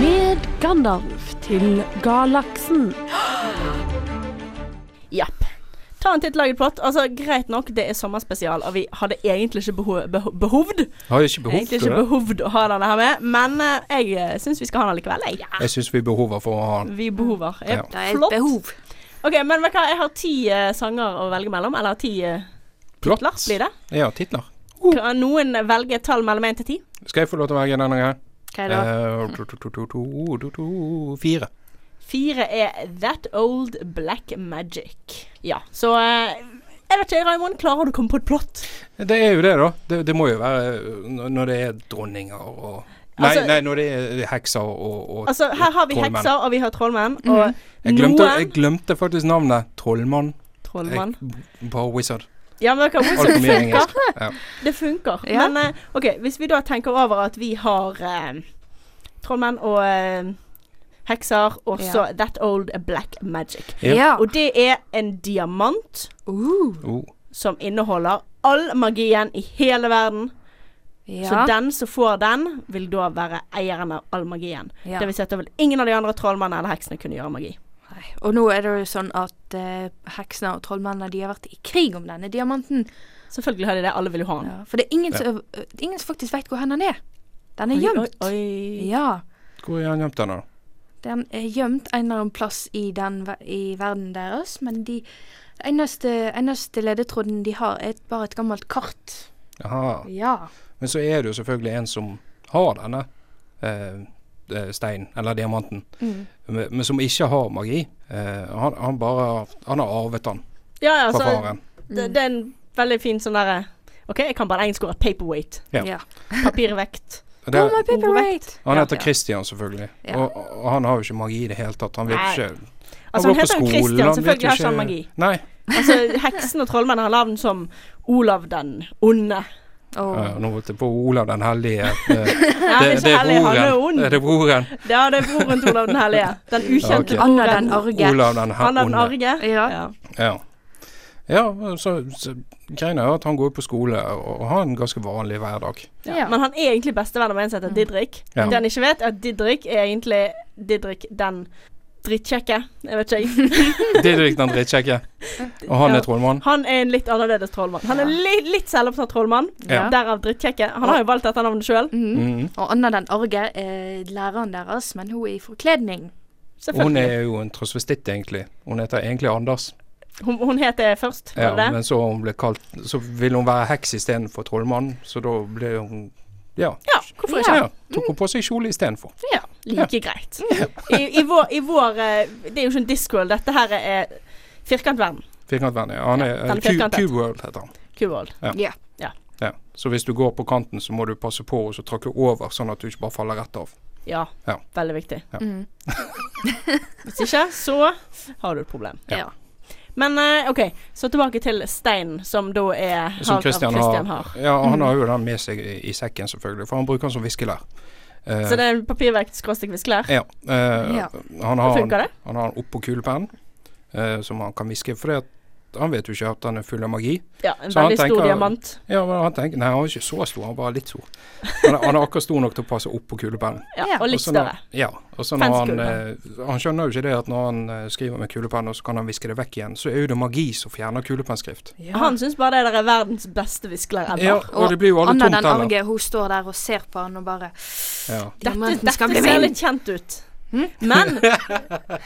Speaker 8: Med Gandalf til galaksen.
Speaker 4: Japp. Ta en titt, lag et plott. Altså, greit nok, det er sommerspesial, og vi hadde egentlig ikke beho beho behovd
Speaker 5: Har ikke behov
Speaker 4: Egentlig
Speaker 5: for
Speaker 4: ikke
Speaker 5: det.
Speaker 4: behovd å ha denne her med, men eh, jeg syns vi skal ha den likevel. Jeg.
Speaker 5: Jeg syns vi behover for å ha han.
Speaker 4: Vi behover.
Speaker 5: Ja.
Speaker 4: Yep.
Speaker 1: Det er
Speaker 4: Flott.
Speaker 1: et behov.
Speaker 4: OK, men vet du hva, jeg har ti eh, sanger å velge mellom. Eller ti eh,
Speaker 5: Plott.
Speaker 4: titler, blir det.
Speaker 5: Ja, titler.
Speaker 4: Kan noen velge et tall mellom én til ti?
Speaker 5: Skal jeg få lov til å velge denne gangen?
Speaker 1: Hva er det?
Speaker 5: Eh, to, to, to, to, to, to, to, Fire.
Speaker 4: Fire er That Old Black Magic. Ja, så eh, Jeg vet ikke, Raymond, klarer du å komme på et plott?
Speaker 5: Det er jo det, da. Det, det må jo være eh, når- når det er dronninger og Nei,
Speaker 4: Altså-
Speaker 5: nei når det er hekser og, og
Speaker 4: Altså, her har vi
Speaker 5: Trollmenn.
Speaker 1: Mhm.
Speaker 4: hekser, og vi har trollmenn, og
Speaker 5: jeg, glemte,
Speaker 4: noen
Speaker 5: jeg glemte faktisk navnet. Trollmann.
Speaker 4: trollmann.
Speaker 5: Jeg- Bare wizard.
Speaker 4: Ja, men hva,
Speaker 5: Alt for
Speaker 4: wizard
Speaker 5: mye
Speaker 4: funker.
Speaker 5: engelsk. Ja.
Speaker 4: Det funker.
Speaker 1: Ja.
Speaker 4: Men eh, OK, hvis vi da tenker over at vi har eh, trollmenn og eh, hekser, og så That Old Black Magic.
Speaker 5: Ja.
Speaker 1: Ja.
Speaker 4: Og det er en diamant
Speaker 1: Uh,
Speaker 5: Oh,
Speaker 4: som inneholder all magien i hele verden. Så
Speaker 1: ja.
Speaker 4: den som får den, vil da være eieren av all magien.
Speaker 1: ja.
Speaker 4: Det vil si at da vil ingen av de andre trollmennene eller heksene kunne gjøre magi.
Speaker 1: Nei. Og nå er det jo sånn at eh, heksene og trollmennene de har vært i krig om denne diamanten.
Speaker 4: Selvfølgelig har de det. Alle vil jo ha den.
Speaker 1: Ja, for det er ingen,
Speaker 5: Ja.
Speaker 1: som, ø, ingen som faktisk vet hvor den er. Den er gjemt.
Speaker 4: Oi, oi, oi.
Speaker 1: Ja.
Speaker 5: hvor er han gjemt den, da?
Speaker 1: Den er gjemt en eller annen plass i, den, ver- i verden deres, men de eneste, eneste ledetråden de har, er et- bare et gammelt kart.
Speaker 5: Aha.
Speaker 1: Ja.
Speaker 5: Men så er det jo selvfølgelig en som har denne eh, eh, steinen, eller diamanten, men, men som ikke har magi. Eh, han, han bare har- Han har arvet den
Speaker 4: Ja, ja,
Speaker 5: fra
Speaker 4: så
Speaker 5: faren.
Speaker 4: det, det er en veldig fin sånn derre OK, jeg kan bare engelsk ord. Paperweight.
Speaker 5: Ja.
Speaker 1: ja.
Speaker 4: Papirvekt.
Speaker 5: Og
Speaker 1: Oh, my
Speaker 5: Det,
Speaker 1: paperweight!
Speaker 5: han heter
Speaker 1: Ja.
Speaker 5: Christian, selvfølgelig,
Speaker 1: Ja.
Speaker 5: og, og han har jo ikke magi i det hele tatt. Han vet
Speaker 4: Nei.
Speaker 5: ikke
Speaker 4: Altså,
Speaker 5: går
Speaker 4: han
Speaker 5: på
Speaker 4: heter jo
Speaker 5: skolen,
Speaker 4: Christian,
Speaker 5: vet
Speaker 4: selvfølgelig har
Speaker 5: jo
Speaker 4: ikke han magi.
Speaker 5: Nei.
Speaker 4: Altså, heksen og trollmennene har navn som Olav den onde.
Speaker 1: Og,
Speaker 5: Ja, nå holdt jeg på Olav den hellige. eh, Det,
Speaker 4: Ja, han er ikke hellig, han er ond.
Speaker 5: broren. Det er broren.
Speaker 4: Ja, det er broren til Olav den hellige. Den ukjente
Speaker 5: ok.
Speaker 1: Anna
Speaker 4: broren.
Speaker 1: den arge.
Speaker 5: Olav den he-
Speaker 4: Anna den
Speaker 5: onde.
Speaker 4: arge.
Speaker 1: Ja.
Speaker 4: Ja.
Speaker 5: Ja. ja så, så greia er at han går på skole og, og har en ganske vanlig hverdag.
Speaker 1: Ja.
Speaker 4: Men han er egentlig bestevenn av en som heter Didrik.
Speaker 5: Ja.
Speaker 4: Det han ikke vet, er at Didrik er egentlig Didrik den drittkjekke. Jeg vet ikke, jeg.
Speaker 5: Didrik den drittkjekke. Og han
Speaker 4: Ja.
Speaker 5: er trollmann.
Speaker 4: Han er en litt annerledes trollmann. Han er li litt selvopptatt trollmann,
Speaker 5: Ja.
Speaker 4: derav drittkjekke. Han har jo valgt dette navnet sjøl.
Speaker 1: Mhm.
Speaker 5: Mhm.
Speaker 1: Og Anna den arge er læreren deres, men hun er i forkledning.
Speaker 5: Og Hun
Speaker 4: Selvfølgelig.
Speaker 5: er jo en transvestitt, egentlig. Hun heter egentlig Anders,
Speaker 4: Hun, hun het det først, var
Speaker 5: ja,
Speaker 4: det det?
Speaker 5: men så, hun ble kalt, så ville hun være heks istedenfor trollmann, så da ble hun Ja.
Speaker 4: Ja, hvorfor ikke?
Speaker 5: ja. Tok hun på seg kjole istedenfor.
Speaker 4: Ja, like greit. I, i vår, i vår eh, Det er jo ikke en Discworld, dette her er firkantverden.
Speaker 5: Firkantvenn. ja. Han er
Speaker 4: Ja, den er
Speaker 5: eh, Q-
Speaker 4: firkantet.
Speaker 5: Q-World, heter han.
Speaker 4: Q-world.
Speaker 1: Ja.
Speaker 5: Ja. Så hvis du går på kanten, så må du passe på å så tråkke over, sånn at du ikke bare faller rett av.
Speaker 4: Ja,
Speaker 5: Ja.
Speaker 4: veldig viktig.
Speaker 5: Ja.
Speaker 1: Mhm.
Speaker 4: Hvis ikke, så har du et problem.
Speaker 5: Ja.
Speaker 1: ja.
Speaker 4: Men eh, OK, så tilbake til steinen, som da er
Speaker 5: Som
Speaker 4: har-
Speaker 5: Christian
Speaker 4: Christian
Speaker 5: har. Ja,
Speaker 4: Mm.
Speaker 5: han har jo den med seg i, i sekken, selvfølgelig, for han bruker den som viskelær. Eh,
Speaker 4: Så det er en papirvekt skråstrek viskelær.
Speaker 5: Ja. eh,
Speaker 1: Ja.
Speaker 5: Han har
Speaker 4: Funker
Speaker 5: den
Speaker 4: det?
Speaker 5: han har den oppå kulepennen, eh, som han kan hviske. For det at han vet jo ikke at han er full av magi.
Speaker 4: Ja, en
Speaker 5: Så han
Speaker 4: veldig stor
Speaker 5: tenker-
Speaker 4: diamant.
Speaker 5: Ja, men Han tenker, nei, han er ikke så stor, han er bare litt stor. Han er, han er akkurat stor nok til å passe opp på kulepennen.
Speaker 4: Ja,
Speaker 1: Ja.
Speaker 4: Og
Speaker 5: Og
Speaker 4: litt
Speaker 5: så når-
Speaker 4: større.
Speaker 5: Ja, og så når han,
Speaker 4: Fancy
Speaker 5: eh, han skjønner jo ikke det at når han eh, skriver med kulepenn, og så kan han viske det vekk igjen, så er jo det magi som fjerner kulepennskrift.
Speaker 4: Han syns bare det der er verdens beste viskelær ever.
Speaker 5: Ja, og det blir jo alle
Speaker 1: Anna den
Speaker 5: tomteller.
Speaker 1: arge, hun står der og ser på han og bare
Speaker 5: Ja.
Speaker 4: Dette,
Speaker 1: Diamanten skal bli
Speaker 4: dette ser
Speaker 1: min!
Speaker 4: litt kjent ut.
Speaker 5: Hm?
Speaker 4: Men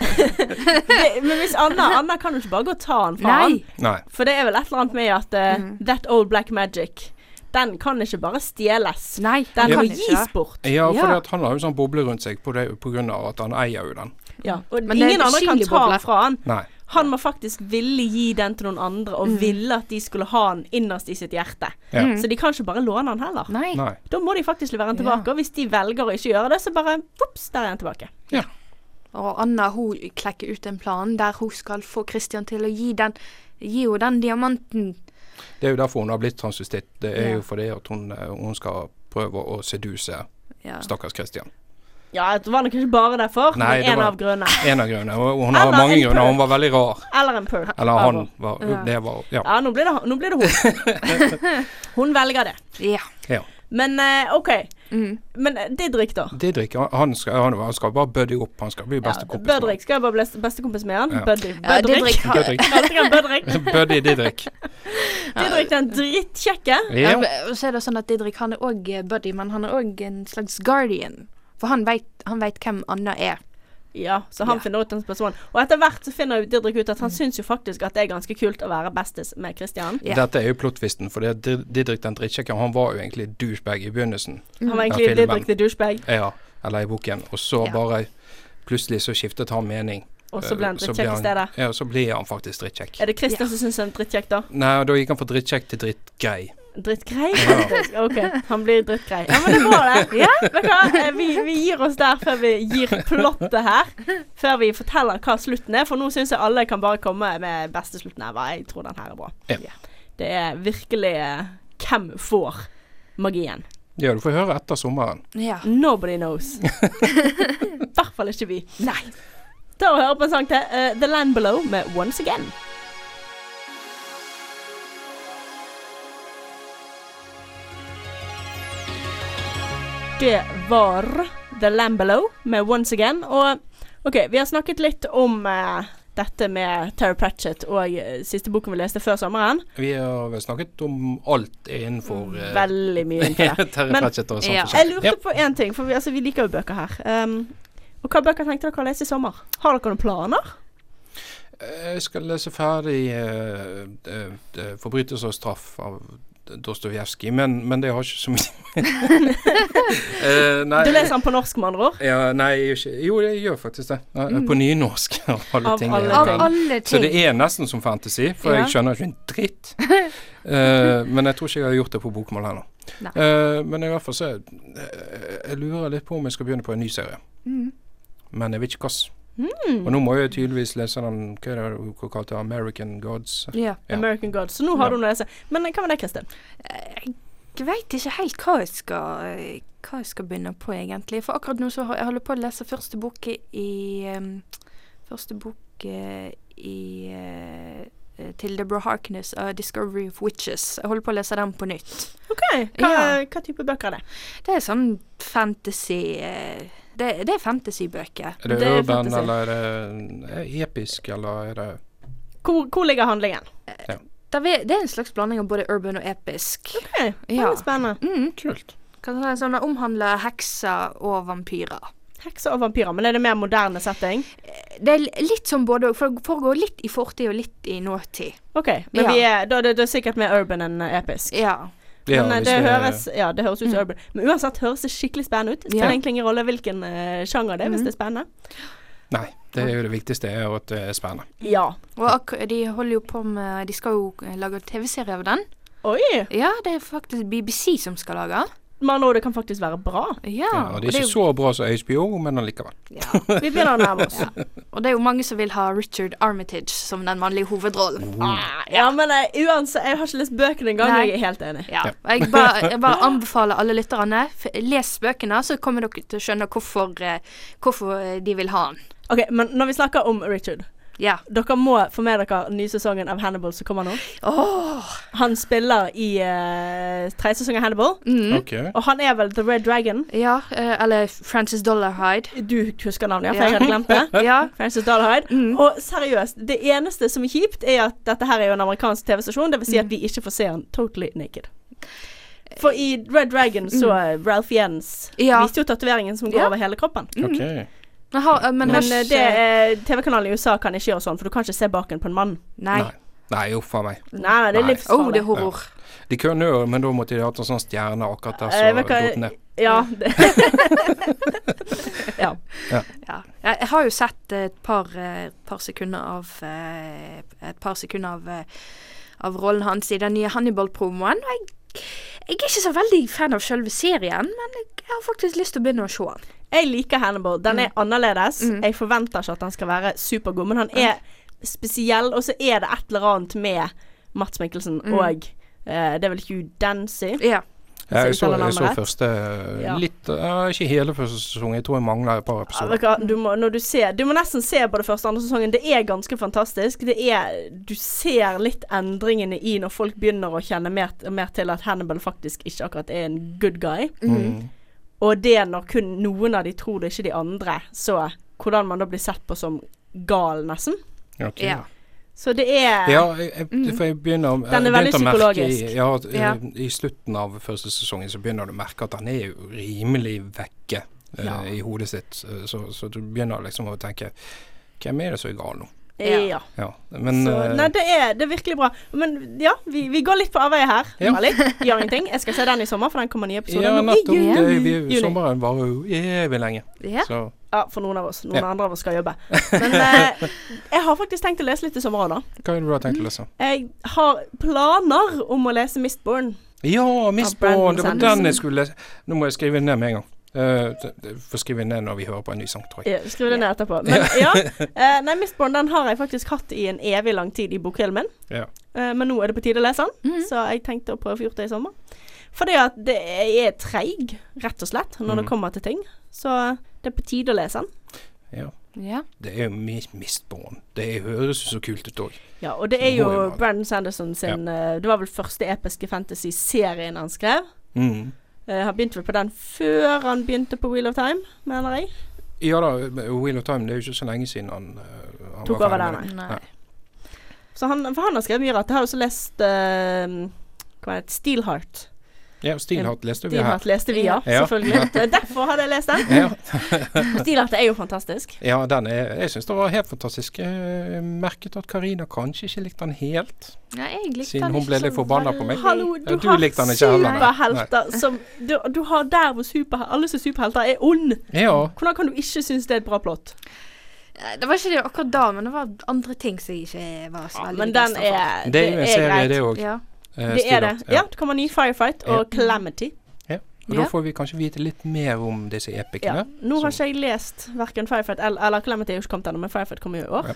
Speaker 4: det, Men hvis Anna Anna kan jo ikke bare gå og ta han fra han.
Speaker 1: Nei! Mm.
Speaker 5: Nei.
Speaker 4: For det er vel et eller annet med at eh, That Old Black Magic, den kan ikke bare stjeles.
Speaker 1: Nei, han
Speaker 4: Den må
Speaker 1: kan ikke
Speaker 4: gis
Speaker 1: det.
Speaker 4: bort.
Speaker 5: Ja, for
Speaker 1: Ja.
Speaker 5: det at han har jo sånn boble rundt seg på, det, på grunn av at han eier jo den.
Speaker 4: Ja. Og
Speaker 1: Men det er
Speaker 4: ingen andre kan
Speaker 1: skikkelig
Speaker 4: ta
Speaker 1: boble.
Speaker 4: den fra han.
Speaker 5: Nei.
Speaker 4: Han må faktisk ville gi den til noen andre,
Speaker 1: Mm.
Speaker 4: og ville at de skulle ha den innerst i sitt hjerte.
Speaker 5: Ja.
Speaker 4: Så de kan ikke bare låne den heller.
Speaker 1: Nei.
Speaker 5: Nei.
Speaker 4: Da må de faktisk levere den tilbake.
Speaker 1: Ja.
Speaker 4: Og hvis de velger å ikke gjøre det, så bare vops, der er den tilbake.
Speaker 1: Og Anna hun klekker ut en plan der hun skal få Christian til å gi den Gi henne den diamanten.
Speaker 5: Det er jo derfor hun har blitt transvestitt. Det er
Speaker 1: Ja.
Speaker 5: jo fordi at hun, eh, hun skal prøve å seduse
Speaker 1: Ja.
Speaker 5: stakkars Christian.
Speaker 4: Ja, det var nok ikke bare derfor, men
Speaker 5: Nei, det
Speaker 4: en
Speaker 5: var-
Speaker 4: av grunnene.
Speaker 5: En av grunnene. Og og hun har
Speaker 4: Eller
Speaker 5: mange
Speaker 4: en
Speaker 5: grunner.
Speaker 4: perk.
Speaker 5: Hun var veldig rar.
Speaker 4: Eller en perk.
Speaker 5: Eller han var
Speaker 1: Ja.
Speaker 5: Det var Ja.
Speaker 4: Ja, nå blir det, nå blir det hun. hun velger det.
Speaker 1: ja.
Speaker 5: ja.
Speaker 4: Men eh, OK.
Speaker 1: Mm.
Speaker 4: Men eh, Didrik, da.
Speaker 5: Didrik, han- han skal, han, han skal bare buddy opp. Han skal bli
Speaker 4: Ja,
Speaker 5: bestekompis. med
Speaker 4: Bødrik. Skal jeg bare bli s- bestekompis med han?
Speaker 5: Ja.
Speaker 4: Buddy.
Speaker 1: Ja,
Speaker 4: Bødrik.
Speaker 1: Didrik
Speaker 5: han.
Speaker 1: har
Speaker 5: Didrik.
Speaker 4: Kalte han Bødrik.
Speaker 5: Buddy Didrik.
Speaker 4: Didrik den drittkjekke.
Speaker 1: ja.
Speaker 5: Ja.
Speaker 1: men Så er det sånn at Didrik han er òg buddy, men han er òg en slags guardian. For han veit, han vet hvem Anna er.
Speaker 4: Ja, så han
Speaker 1: Ja.
Speaker 4: finner ut den personen. Og etter hvert så finner jo Didrik ut at han syns jo faktisk at det er ganske kult å være bestis med Kristian.
Speaker 1: Ja.
Speaker 5: Dette er jo plottvisten, for det er Didrik den drittkjekke han var jo egentlig douchebag i begynnelsen.
Speaker 4: Han var
Speaker 5: Mm. Ja,
Speaker 4: egentlig
Speaker 5: filmen.
Speaker 4: Didrik the douchebag,
Speaker 5: Ja, eller i boken. Og så
Speaker 1: Ja.
Speaker 5: bare plutselig så skiftet han mening.
Speaker 4: og så ble han
Speaker 5: Eh,
Speaker 4: drittkjekk i
Speaker 5: han-
Speaker 4: stedet.
Speaker 5: Ja, så ble han faktisk drittkjekk.
Speaker 4: Er det Kristian som syns han er drittkjekk, da?
Speaker 5: Nei, da gikk han fra drittkjekk til drittgrei.
Speaker 4: Drittgrei?
Speaker 5: Ja.
Speaker 4: OK, han blir drittgrei. Ja, men det er bra, det. Ja, vet du hva? Eh, Vi, vi gir oss der før vi gir plottet her. Før vi forteller hva slutten er, for nå syns jeg alle kan bare komme med beste slutten ever. Jeg tror den her er bra.
Speaker 5: Ja.
Speaker 4: Det er virkelig eh, Hvem får magien?
Speaker 5: Ja, du får høre etter sommeren.
Speaker 1: Ja.
Speaker 4: Nobody knows. I hvert fall ikke vi. Nei. Ta og hør på en sang til. eh, The Land Below med Once Again. Det var The Land Below med Once Again. Og OK, vi har snakket litt om eh, dette med Terry Pratchett og eh, siste boken vi leste før sommeren.
Speaker 5: Vi har vel snakket om alt innenfor eh,
Speaker 4: Mm, Veldig mye innenfor det.
Speaker 5: Terry
Speaker 4: Men-
Speaker 5: Pratchett og sånn sånt.
Speaker 1: Ja.
Speaker 5: og sånt.
Speaker 4: Jeg lurte
Speaker 5: Ja.
Speaker 4: på én ting, for vi, altså, vi liker jo bøker her. Um, og hva bøker tenkte dere å lese i sommer? Har dere noen planer?
Speaker 5: Jeg skal lese ferdig eh, eh, eh, 'Forbrytelse og straff' av Dostojevskij, men, men det har ikke så mye Eh, nei,
Speaker 4: Du leser den på norsk, med andre ord.
Speaker 5: Ja, nei, jeg gjør ikke Jo, jeg gjør faktisk det. Nei, På nynorsk. Av alle
Speaker 4: Mm. Av
Speaker 5: ting.
Speaker 4: alle
Speaker 5: jeg
Speaker 1: Av
Speaker 5: kan.
Speaker 1: alle
Speaker 5: Så det
Speaker 1: ting.
Speaker 5: er nesten som fantasy, for
Speaker 4: Ja.
Speaker 5: jeg skjønner ikke en dritt. Eh, men jeg tror ikke jeg har gjort det på bokmål ennå.
Speaker 1: Nei.
Speaker 5: Eh, men i hvert fall så eh, Jeg lurer litt på om jeg skal begynne på en ny serie.
Speaker 1: Mm.
Speaker 5: Men jeg vet ikke hvilken.
Speaker 4: Hmm.
Speaker 5: Og nå må jeg tydeligvis lese den Hva er det hun kalte American Gods?
Speaker 1: Ja.
Speaker 5: Ja.
Speaker 4: American Gods. Så nå har
Speaker 5: Ja.
Speaker 4: du noe å lese. Men eh, hva med deg, Kristin?
Speaker 1: Jeg veit ikke helt hva jeg skal hva jeg skal begynne på, egentlig. For akkurat nå så har- jeg holder jeg på å lese første bok i- i em, Første bok eh, i eh, eh, til Deborah Harkness av 'Discovery of Witches'. Jeg holder på å lese den på nytt.
Speaker 4: OK, hva,
Speaker 1: Ja.
Speaker 4: hva type bøker er det?
Speaker 1: Det er sånn fantasy eh, Det, det er fantasybøker.
Speaker 5: Er det,
Speaker 4: Det er
Speaker 5: urban,
Speaker 4: fantasy.
Speaker 5: eller er det eh, episk, eller er det
Speaker 4: Hvor, hvor ligger handlingen?
Speaker 1: Det er, det er en slags blanding av både urban og episk.
Speaker 4: OK, det
Speaker 1: Ja.
Speaker 4: er spennende.
Speaker 1: Mm.
Speaker 5: Kult.
Speaker 1: Kan sånn, sånn, det omhandler hekser og vampyrer.
Speaker 4: Hekser og vampyrer. Men er det mer moderne setting?
Speaker 1: Det er litt som både òg, for det foregår litt i fortid og litt i nåtid.
Speaker 4: OK, men
Speaker 1: Ja.
Speaker 4: vi er, da, det, det er sikkert mer urban enn eh, episk.
Speaker 1: Ja.
Speaker 5: Ja,
Speaker 4: Men eh,
Speaker 5: hvis
Speaker 4: det
Speaker 5: det er-
Speaker 4: høres, ja, det høres ut som urban. Men uansett høres det skikkelig spennende ut. Det
Speaker 1: Mm. Ja. Mm.
Speaker 4: spiller egentlig ingen rolle hvilken eh, sjanger det er, hvis det er spennende.
Speaker 5: Nei, det er jo det viktigste, er jo at det er spennende.
Speaker 4: Ja.
Speaker 1: Og ak de holder jo på med De skal jo eh, lage TV-serie av den.
Speaker 4: Oi!
Speaker 1: Ja, det er faktisk BBC som skal lage.
Speaker 4: Med andre ord, det kan faktisk være bra.
Speaker 1: Ja,
Speaker 5: Ja,
Speaker 1: og
Speaker 5: det er ikke
Speaker 1: jo,
Speaker 5: så bra som HBO, men allikevel.
Speaker 1: ja.
Speaker 4: Vi begynner å nærme oss.
Speaker 1: Og det er jo mange som vil ha Richard Armitage som den mannlige hovedrollen.
Speaker 4: Ah, ja, men eh, uansett, jeg har ikke lest bøkene engang,
Speaker 1: Nei.
Speaker 4: jeg er helt enig.
Speaker 1: Ja. og Jeg bare, jeg bare anbefaler alle lytterne, f- les bøkene, så kommer dere til å skjønne hvorfor, eh, hvorfor eh, de vil ha han.
Speaker 4: Ok, Men når vi snakker om Richard
Speaker 1: Ja.
Speaker 4: Dere må få med dere nysesongen av Hannibal som kommer nå.
Speaker 1: Åh!
Speaker 4: Han spiller i eh, tredje sesong av Hannibal,
Speaker 1: Mm.
Speaker 5: Ok.
Speaker 4: og han er vel The Red Dragon.
Speaker 1: Ja, eh, eller Frances Dollarhide.
Speaker 4: Du husker navnet, ja, for
Speaker 1: Ja.
Speaker 4: jeg hadde glemt det.
Speaker 1: Ja.
Speaker 4: Frances Dahlhide.
Speaker 1: Mm.
Speaker 4: Og seriøst, det eneste som er kjipt, er at dette her er jo en amerikansk TV-stasjon. Det vil si
Speaker 1: Mm.
Speaker 4: at vi ikke får se han totally naked. For i Red Dragon så Ralph Jens
Speaker 1: Mm. Ja.
Speaker 4: viste jo tatoveringen som går
Speaker 1: Ja.
Speaker 4: over hele kroppen.
Speaker 5: ok.
Speaker 1: Men, har, men,
Speaker 4: Men
Speaker 1: har
Speaker 4: eh,
Speaker 1: ikke-
Speaker 4: det eh, TV-kanalen i USA kan ikke gjøre sånn, for du kan ikke se baken på en mann.
Speaker 1: Nei.
Speaker 5: Nei. Nei, uff a meg.
Speaker 4: Nei, nei, det er
Speaker 5: Nei.
Speaker 1: Å, Oh, det
Speaker 4: livsfarlig.
Speaker 1: er horror.
Speaker 5: De kunne jo, men da måtte de hatt en sånn stjerne akkurat der, så
Speaker 4: Eh, vet du hva-
Speaker 5: doten ned.
Speaker 4: ja. det- ja.
Speaker 1: Ja. Jeg, jeg har jo sett et par, eh, par sekunder av eh, Et par sekunder av, eh, av rollen hans i den nye Hannibal-promoen. Og jeg, jeg er ikke så veldig fan av selve serien, men jeg, jeg har faktisk lyst til å begynne å se den.
Speaker 4: Jeg liker Hannibal. Den er annerledes. Jeg forventer ikke at han skal være supergod, men han er spesiell. Og så er det et eller annet med Mats Mikkelsen og eh, Det er vel Hugh Dancy.
Speaker 1: Ja.
Speaker 5: Ja, jeg
Speaker 4: Hvis jeg
Speaker 5: så,
Speaker 4: uttaler
Speaker 5: jeg så
Speaker 4: navnet rett.
Speaker 5: første
Speaker 4: Ja.
Speaker 5: litt eh, Ikke hele første sesong, jeg tror jeg mangler et par
Speaker 4: Ja,
Speaker 5: episoder.
Speaker 4: vet du hva, du, må, når du, ser, du må nesten se på det første og andre sesongen. Det er ganske fantastisk. Det er, du ser litt endringene i når folk begynner å kjenne mer, mer til at Hannibal faktisk ikke akkurat er en good guy.
Speaker 5: Mm.
Speaker 4: Og det når kun noen av de tror det, ikke de andre. Så hvordan man da blir sett på som gal, nesten.
Speaker 5: Ok,
Speaker 1: Ja.
Speaker 5: ja.
Speaker 4: Så det er
Speaker 5: Ja, jeg, jeg, for jeg begynner jeg
Speaker 4: Mm. Den er
Speaker 5: begynte
Speaker 4: veldig
Speaker 5: å merke i,
Speaker 4: psykologisk.
Speaker 5: ja, eh,
Speaker 1: Ja.
Speaker 5: i, I slutten av første sesongen så begynner du å merke at han er jo rimelig vekke eh,
Speaker 4: Ja.
Speaker 5: i hodet sitt. eh, Så, så du begynner liksom å tenke Hvem er det som er gal nå?
Speaker 1: Ja.
Speaker 4: eh, Ja.
Speaker 5: Ja, men
Speaker 4: så,
Speaker 5: eh,
Speaker 4: nei, det er, det er virkelig bra. Men ja, vi, vi går litt på avveie her.
Speaker 5: Ja.
Speaker 4: Mali. Gjør ingenting. Jeg skal se den i sommer, for den kommer nye episoder
Speaker 5: ja,
Speaker 4: nå i
Speaker 5: nettopp.
Speaker 4: juni.
Speaker 5: Det, vi,
Speaker 4: Juni.
Speaker 5: sommeren varer jo evig lenge.
Speaker 1: Ja.
Speaker 5: Så
Speaker 4: Ja, for noen av oss. Noen
Speaker 5: Ja.
Speaker 4: andre av oss skal jobbe. Men eh, jeg har faktisk tenkt å lese litt i sommer òg, da.
Speaker 5: hva er det du har tenkt å lese?
Speaker 4: Jeg har planer om å lese Mistborn.
Speaker 5: Ja, Miss
Speaker 4: Av Brandon
Speaker 5: Bond! Det var
Speaker 4: Sanderson.
Speaker 5: den jeg skulle Nå må jeg skrive den ned med en gang. Eh, det- det får skrive ned når vi hører på en ny sang, tror jeg.
Speaker 4: Ja, Skriv det ned etterpå. Men ja, eh, nei, Miss Bond den har jeg faktisk hatt i en evig lang tid i bokhyllen min.
Speaker 5: Ja.
Speaker 4: Eh, men nå er det på tide å lese den,
Speaker 1: Mhm.
Speaker 4: så jeg tenkte å prøve å få gjort det i sommer. Fordi at det jeg er treig, rett og slett, når det
Speaker 5: Mhm.
Speaker 4: kommer til ting. Så det er på tide å lese den.
Speaker 1: Ja.
Speaker 5: Det er jo Mi- Miss Bond. Det høres jo så kult ut òg.
Speaker 4: Ja, og det er
Speaker 5: Så
Speaker 4: jo
Speaker 5: må vi ha det.
Speaker 4: Brandon Sanderson sin eh, Det var vel første episke fantasy-serien han skrev.
Speaker 5: Mm.
Speaker 4: Eh, han begynte vel på den før han begynte på Wheel of Time, mener jeg.
Speaker 5: Ja da, eh, Wheel of Time, det er jo ikke så lenge siden han, eh, han
Speaker 4: Tok
Speaker 5: var
Speaker 4: over
Speaker 5: ferdig
Speaker 4: der,
Speaker 5: med det.
Speaker 1: Nei.
Speaker 4: Så han, for han har skrevet mye rart. Jeg har også lest eh, hva er det? Steelheart.
Speaker 5: Ja, Stilhatt leste vi her.
Speaker 4: Steelheart leste vi, ja.
Speaker 5: Ja.
Speaker 4: Selvfølgelig. Derfor hadde jeg lest den.
Speaker 5: Ja,
Speaker 4: Og Steelheart er jo fantastisk.
Speaker 5: ja den er, jeg syns det var helt fantastisk. Jeg eh, merket at Karina kanskje ikke likte den helt.
Speaker 1: Nei, jeg likte
Speaker 5: Siden
Speaker 1: han
Speaker 5: hun
Speaker 1: ikke
Speaker 5: ble
Speaker 1: så
Speaker 5: litt forbanna på meg.
Speaker 1: veldig.
Speaker 4: Hallo,
Speaker 5: Ja,
Speaker 4: du,
Speaker 5: du
Speaker 4: har
Speaker 5: likte den ikke heller, nei.
Speaker 4: superhelter som du, du har der hvor super, alle som er superhelter, er ond.
Speaker 5: Ja,
Speaker 4: Hvordan kan du ikke synes det er et bra plott?
Speaker 1: Eh, Det var ikke det akkurat da, men det var andre ting som jeg ikke var så veldig
Speaker 4: Men den
Speaker 1: begeistret for.
Speaker 4: er
Speaker 5: det er jo en serie,
Speaker 4: greit.
Speaker 5: det eh, òg.
Speaker 1: Ja.
Speaker 4: Det er det. Ja, det kommer en ny Firefight og Calamity.
Speaker 5: Og da
Speaker 1: Ja.
Speaker 5: får vi kanskje vite litt mer om disse
Speaker 4: Ja.
Speaker 5: epikene.
Speaker 4: Nå har
Speaker 5: Så-
Speaker 4: ikke jeg lest verken Firefight eller, eller Calamity er jo ikke kommet ennå, men Firefight kommer jo i år.
Speaker 5: Ja.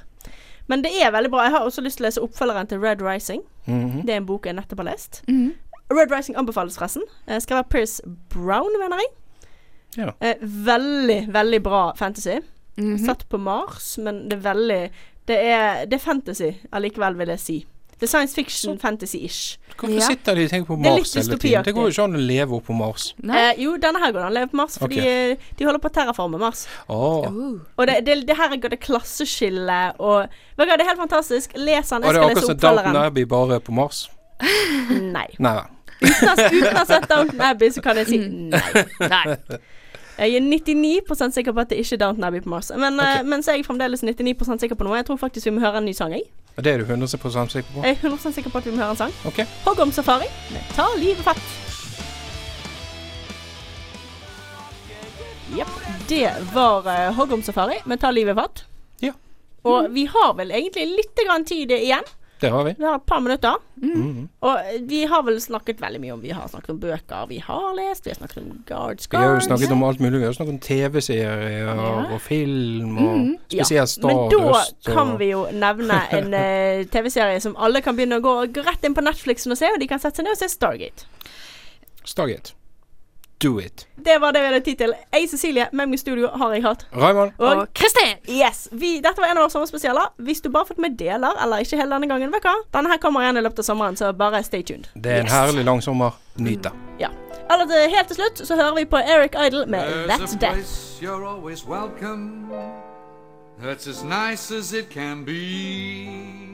Speaker 4: Men det er veldig bra. Jeg har også lyst til å lese oppfølgeren til Red Rising.
Speaker 5: Mhm.
Speaker 4: Det er en bok jeg nettopp har lest.
Speaker 1: Mhm.
Speaker 4: Red Rising anbefales forresten. Eh, Skal være Pierce Brown, mener jeg.
Speaker 5: Ja.
Speaker 4: Eh, veldig, veldig bra fantasy.
Speaker 1: Mhm.
Speaker 4: Satt på Mars, men det er veldig Det er, det er fantasy allikevel, vil jeg si. Det er science fiction, fantasy-ish.
Speaker 5: Hvorfor
Speaker 1: Ja.
Speaker 5: sitter de og tenker på
Speaker 4: Det er litt
Speaker 5: Mars hele tiden? Det går jo ikke an å leve opp på Mars.
Speaker 1: Nei.
Speaker 4: Eh, jo, denne her går det an å leve på Mars, fordi
Speaker 5: Ok.
Speaker 4: eh, de holder på å terraforme Mars.
Speaker 5: Åh.
Speaker 1: Oh.
Speaker 4: Og det, det, det her er både klasseskille og Vet du hva, Det er helt fantastisk. Les den.
Speaker 5: Og
Speaker 4: Jeg
Speaker 5: det er
Speaker 4: skal
Speaker 5: akkurat
Speaker 4: lese
Speaker 5: som Downton
Speaker 4: oppfølgeren.
Speaker 5: Abbey, bare på Mars.
Speaker 4: Nei.
Speaker 5: Nei.
Speaker 4: Uten å- uten å ha sett Downton Abbey, så kan jeg si nei.
Speaker 7: Nei.
Speaker 4: Jeg er 99 sikker på at det ikke er Downton Abbey på Mars. Men, eh, men så er jeg fremdeles 99 sikker på noe. Jeg tror faktisk vi må høre en ny sang. Jeg,
Speaker 5: Og Det er du 100 sikker på?
Speaker 4: jeg er 100 sikker på at vi må høre en sang.
Speaker 5: Ok.
Speaker 4: Hogg om safari. med Ta livet fatt. Jepp. Det var eh, Hogg om safari med Ta livet fatt.
Speaker 5: Ja.
Speaker 4: Og vi har vel egentlig litt grann tid igjen.
Speaker 5: Det har vi.
Speaker 4: Vi har et par minutter.
Speaker 5: Mhm.
Speaker 4: Og eh, vi har vel snakket veldig mye om Vi har snakket om bøker vi har lest, vi har snakket om Guards
Speaker 5: Vi har jo
Speaker 4: Guards.
Speaker 5: snakket om alt mulig. Vi har snakket om TV-serier
Speaker 4: Ja. Mhm.
Speaker 5: og film og spesielt Star
Speaker 4: Men da
Speaker 5: Øst.
Speaker 4: kan
Speaker 5: Og...
Speaker 4: vi jo nevne en eh, TV-serie som alle kan begynne å gå, gå rett inn på Netflixen og se, og de kan sette seg ned og se Stargate.
Speaker 5: Stargate. Do it.
Speaker 4: Det var det vi hadde tid til. Jeg, Cecilie, med meg i studio har jeg hatt.
Speaker 5: Raymond,
Speaker 4: Og
Speaker 7: Og Kristin!
Speaker 4: yes, vi, dette var en av våre sommerspesialer. Hvis du bare har fått med deler, eller ikke hele denne gangen, vet du hva. Denne her kommer igjen i løpet av sommeren, så bare stay tuned.
Speaker 5: det er en herlig lang sommer. Nyt det.
Speaker 4: Ja. Eller til- helt til slutt så hører vi på Eric Idle med That's Death.
Speaker 9: place you're always welcome. That's as nice as it can be.